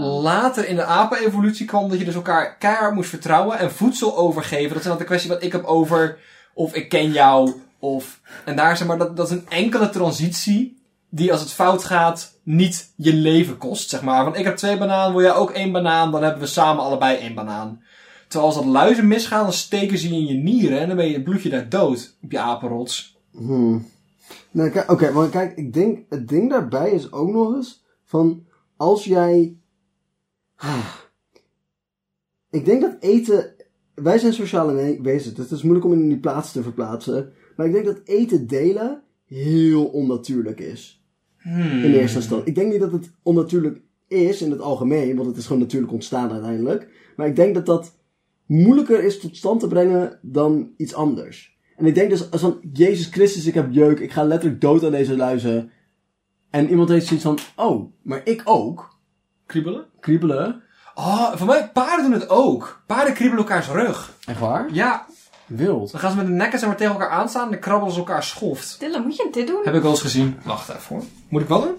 Speaker 1: later in de apenevolutie kwam dat je dus elkaar keihard moest vertrouwen en voedsel overgeven. Dat is dan de kwestie wat ik heb over of ik ken jou of... En daar zeg maar, dat, dat is een enkele transitie die als het fout gaat niet je leven kost, zeg maar. Want ik heb twee banaan, wil jij ook één banaan, dan hebben we samen allebei één banaan. Terwijl als dat luizen misgaan, dan steken ze je in je nieren en dan ben je bloedje daar dood op je apenrots.
Speaker 6: Hmm. Nou, kijk, oké, maar kijk, ik denk, het ding daarbij is ook nog eens van als jij. Ah. ik denk dat eten. Wij zijn sociale we- wezens, dus het is moeilijk om in die plaats te verplaatsen. Maar ik denk dat eten delen heel onnatuurlijk is. In
Speaker 1: Mm.
Speaker 6: eerste instantie. Ik denk niet dat het onnatuurlijk is in het algemeen, want het is gewoon natuurlijk ontstaan uiteindelijk. Maar ik denk dat dat moeilijker is tot stand te brengen dan iets anders. En ik denk dus als van, Jezus Christus, ik heb jeuk, ik ga letterlijk dood aan deze luizen. En iemand heeft zoiets van, oh, maar ik ook.
Speaker 8: Kriebelen?
Speaker 6: Kriebelen.
Speaker 1: Oh, voor mij, paarden doen het ook. Paarden kriebelen elkaars rug.
Speaker 2: Echt waar?
Speaker 1: Ja,
Speaker 6: Wild.
Speaker 1: dan gaan ze met de nekken zeg maar, tegen elkaar aanstaan en dan krabbelen ze elkaar schoft.
Speaker 3: Dylan, moet je dit doen?
Speaker 1: Heb ik wel eens gezien. Wacht even hoor. Moet ik wel doen?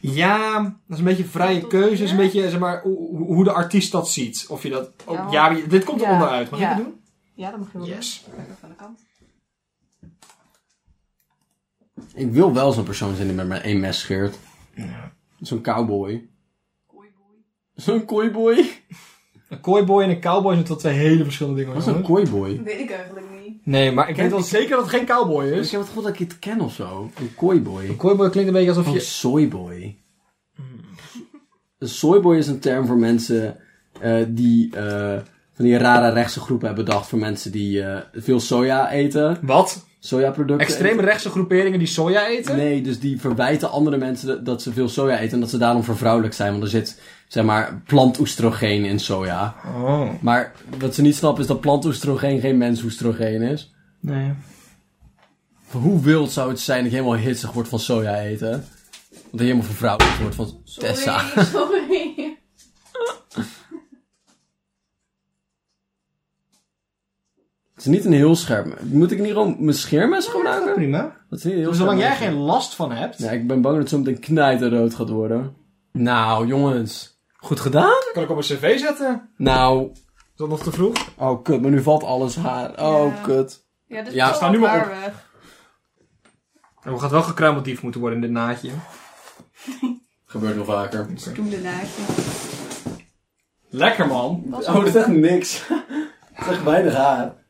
Speaker 1: Ja, dat is een beetje vrije
Speaker 3: Tot
Speaker 1: keuze. is een
Speaker 3: hier?
Speaker 1: beetje zeg maar, hoe, hoe- hoe de artiest dat ziet. Of je dat... Oh,
Speaker 3: Ja.
Speaker 1: ja, maar je- dit komt er
Speaker 3: Ja.
Speaker 1: onderuit. Mag
Speaker 3: Ja.
Speaker 1: ik het doen?
Speaker 3: Ja, dat mag je wel
Speaker 1: Yes.
Speaker 3: doen. Even Van de kant.
Speaker 2: Ik wil wel zo'n persoon zijn die met maar één mes scheert. Zo'n cowboy.
Speaker 3: Kooiboei.
Speaker 2: Zo'n kooiboy?
Speaker 1: Een cowboy en een cowboy zijn toch wel twee hele verschillende dingen.
Speaker 2: Wat is
Speaker 1: jongen.
Speaker 2: een kooiboy?
Speaker 3: Weet ik eigenlijk niet.
Speaker 1: Nee, maar ik weet wel zeker dat het geen cowboy
Speaker 2: Ik
Speaker 1: is.
Speaker 2: heb het gevoel dat ik het ken of zo. Een kooiboy.
Speaker 1: Een cowboy klinkt een beetje alsof
Speaker 2: Een
Speaker 1: je...
Speaker 2: soyboy. Een soyboy is een term voor mensen eh, die eh, van die rare rechtse groepen hebben bedacht. Voor mensen die eh, veel soja eten.
Speaker 1: Wat?
Speaker 2: Sojaproducten.
Speaker 1: Extreem rechtse groeperingen die soja eten?
Speaker 2: eten. Nee, dus die verwijten andere mensen dat- dat ze veel soja eten. En dat ze daarom vervrouwelijk zijn. Want er zit, zeg maar, plantoestrogeen in soja.
Speaker 1: Oh.
Speaker 2: Maar wat ze niet snappen is dat plantoestrogeen geen mensoestrogeen is.
Speaker 1: Nee.
Speaker 2: Hoe wild zou het zijn dat je helemaal hitsig wordt van soja eten? Want dat je helemaal vervrouwelijk wordt van
Speaker 3: Sorry,
Speaker 2: Tessa.
Speaker 3: sorry.
Speaker 2: Het is niet een heel scherp. Moet ik niet gewoon mijn scheermes gebruiken?
Speaker 1: Nou, Prima.
Speaker 2: Dat is niet een heel
Speaker 1: Zolang
Speaker 2: scherp
Speaker 1: jij
Speaker 2: mes.
Speaker 1: geen last van hebt...
Speaker 2: Ja, ik ben bang dat het zo meteen knijterrood gaat worden. Nou, jongens. Goed gedaan?
Speaker 1: Kan ik op een cv zetten?
Speaker 2: Nou.
Speaker 1: Is dat nog te vroeg?
Speaker 2: Oh, kut. Maar nu valt alles haar. Oh,
Speaker 3: Ja.
Speaker 2: kut.
Speaker 3: Ja, dit
Speaker 2: Ja,
Speaker 3: is
Speaker 1: sta nu maar
Speaker 3: waar
Speaker 1: op.
Speaker 3: weg.
Speaker 1: We gaat wel gekruimeldief moeten worden in dit naadje.
Speaker 2: Gebeurt nog vaker.
Speaker 3: Doe de naadje.
Speaker 1: Lekker man.
Speaker 2: Oh, dat is echt niks. dat is echt weinig haar.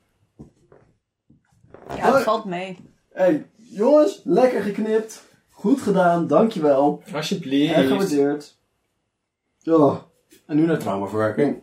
Speaker 3: Ja, het valt mee.
Speaker 6: hey, jongens, lekker geknipt. Goed gedaan, dankjewel.
Speaker 1: Alsjeblieft.
Speaker 6: Erg gewaardeerd. Ja.
Speaker 2: En nu naar traumaverwerking.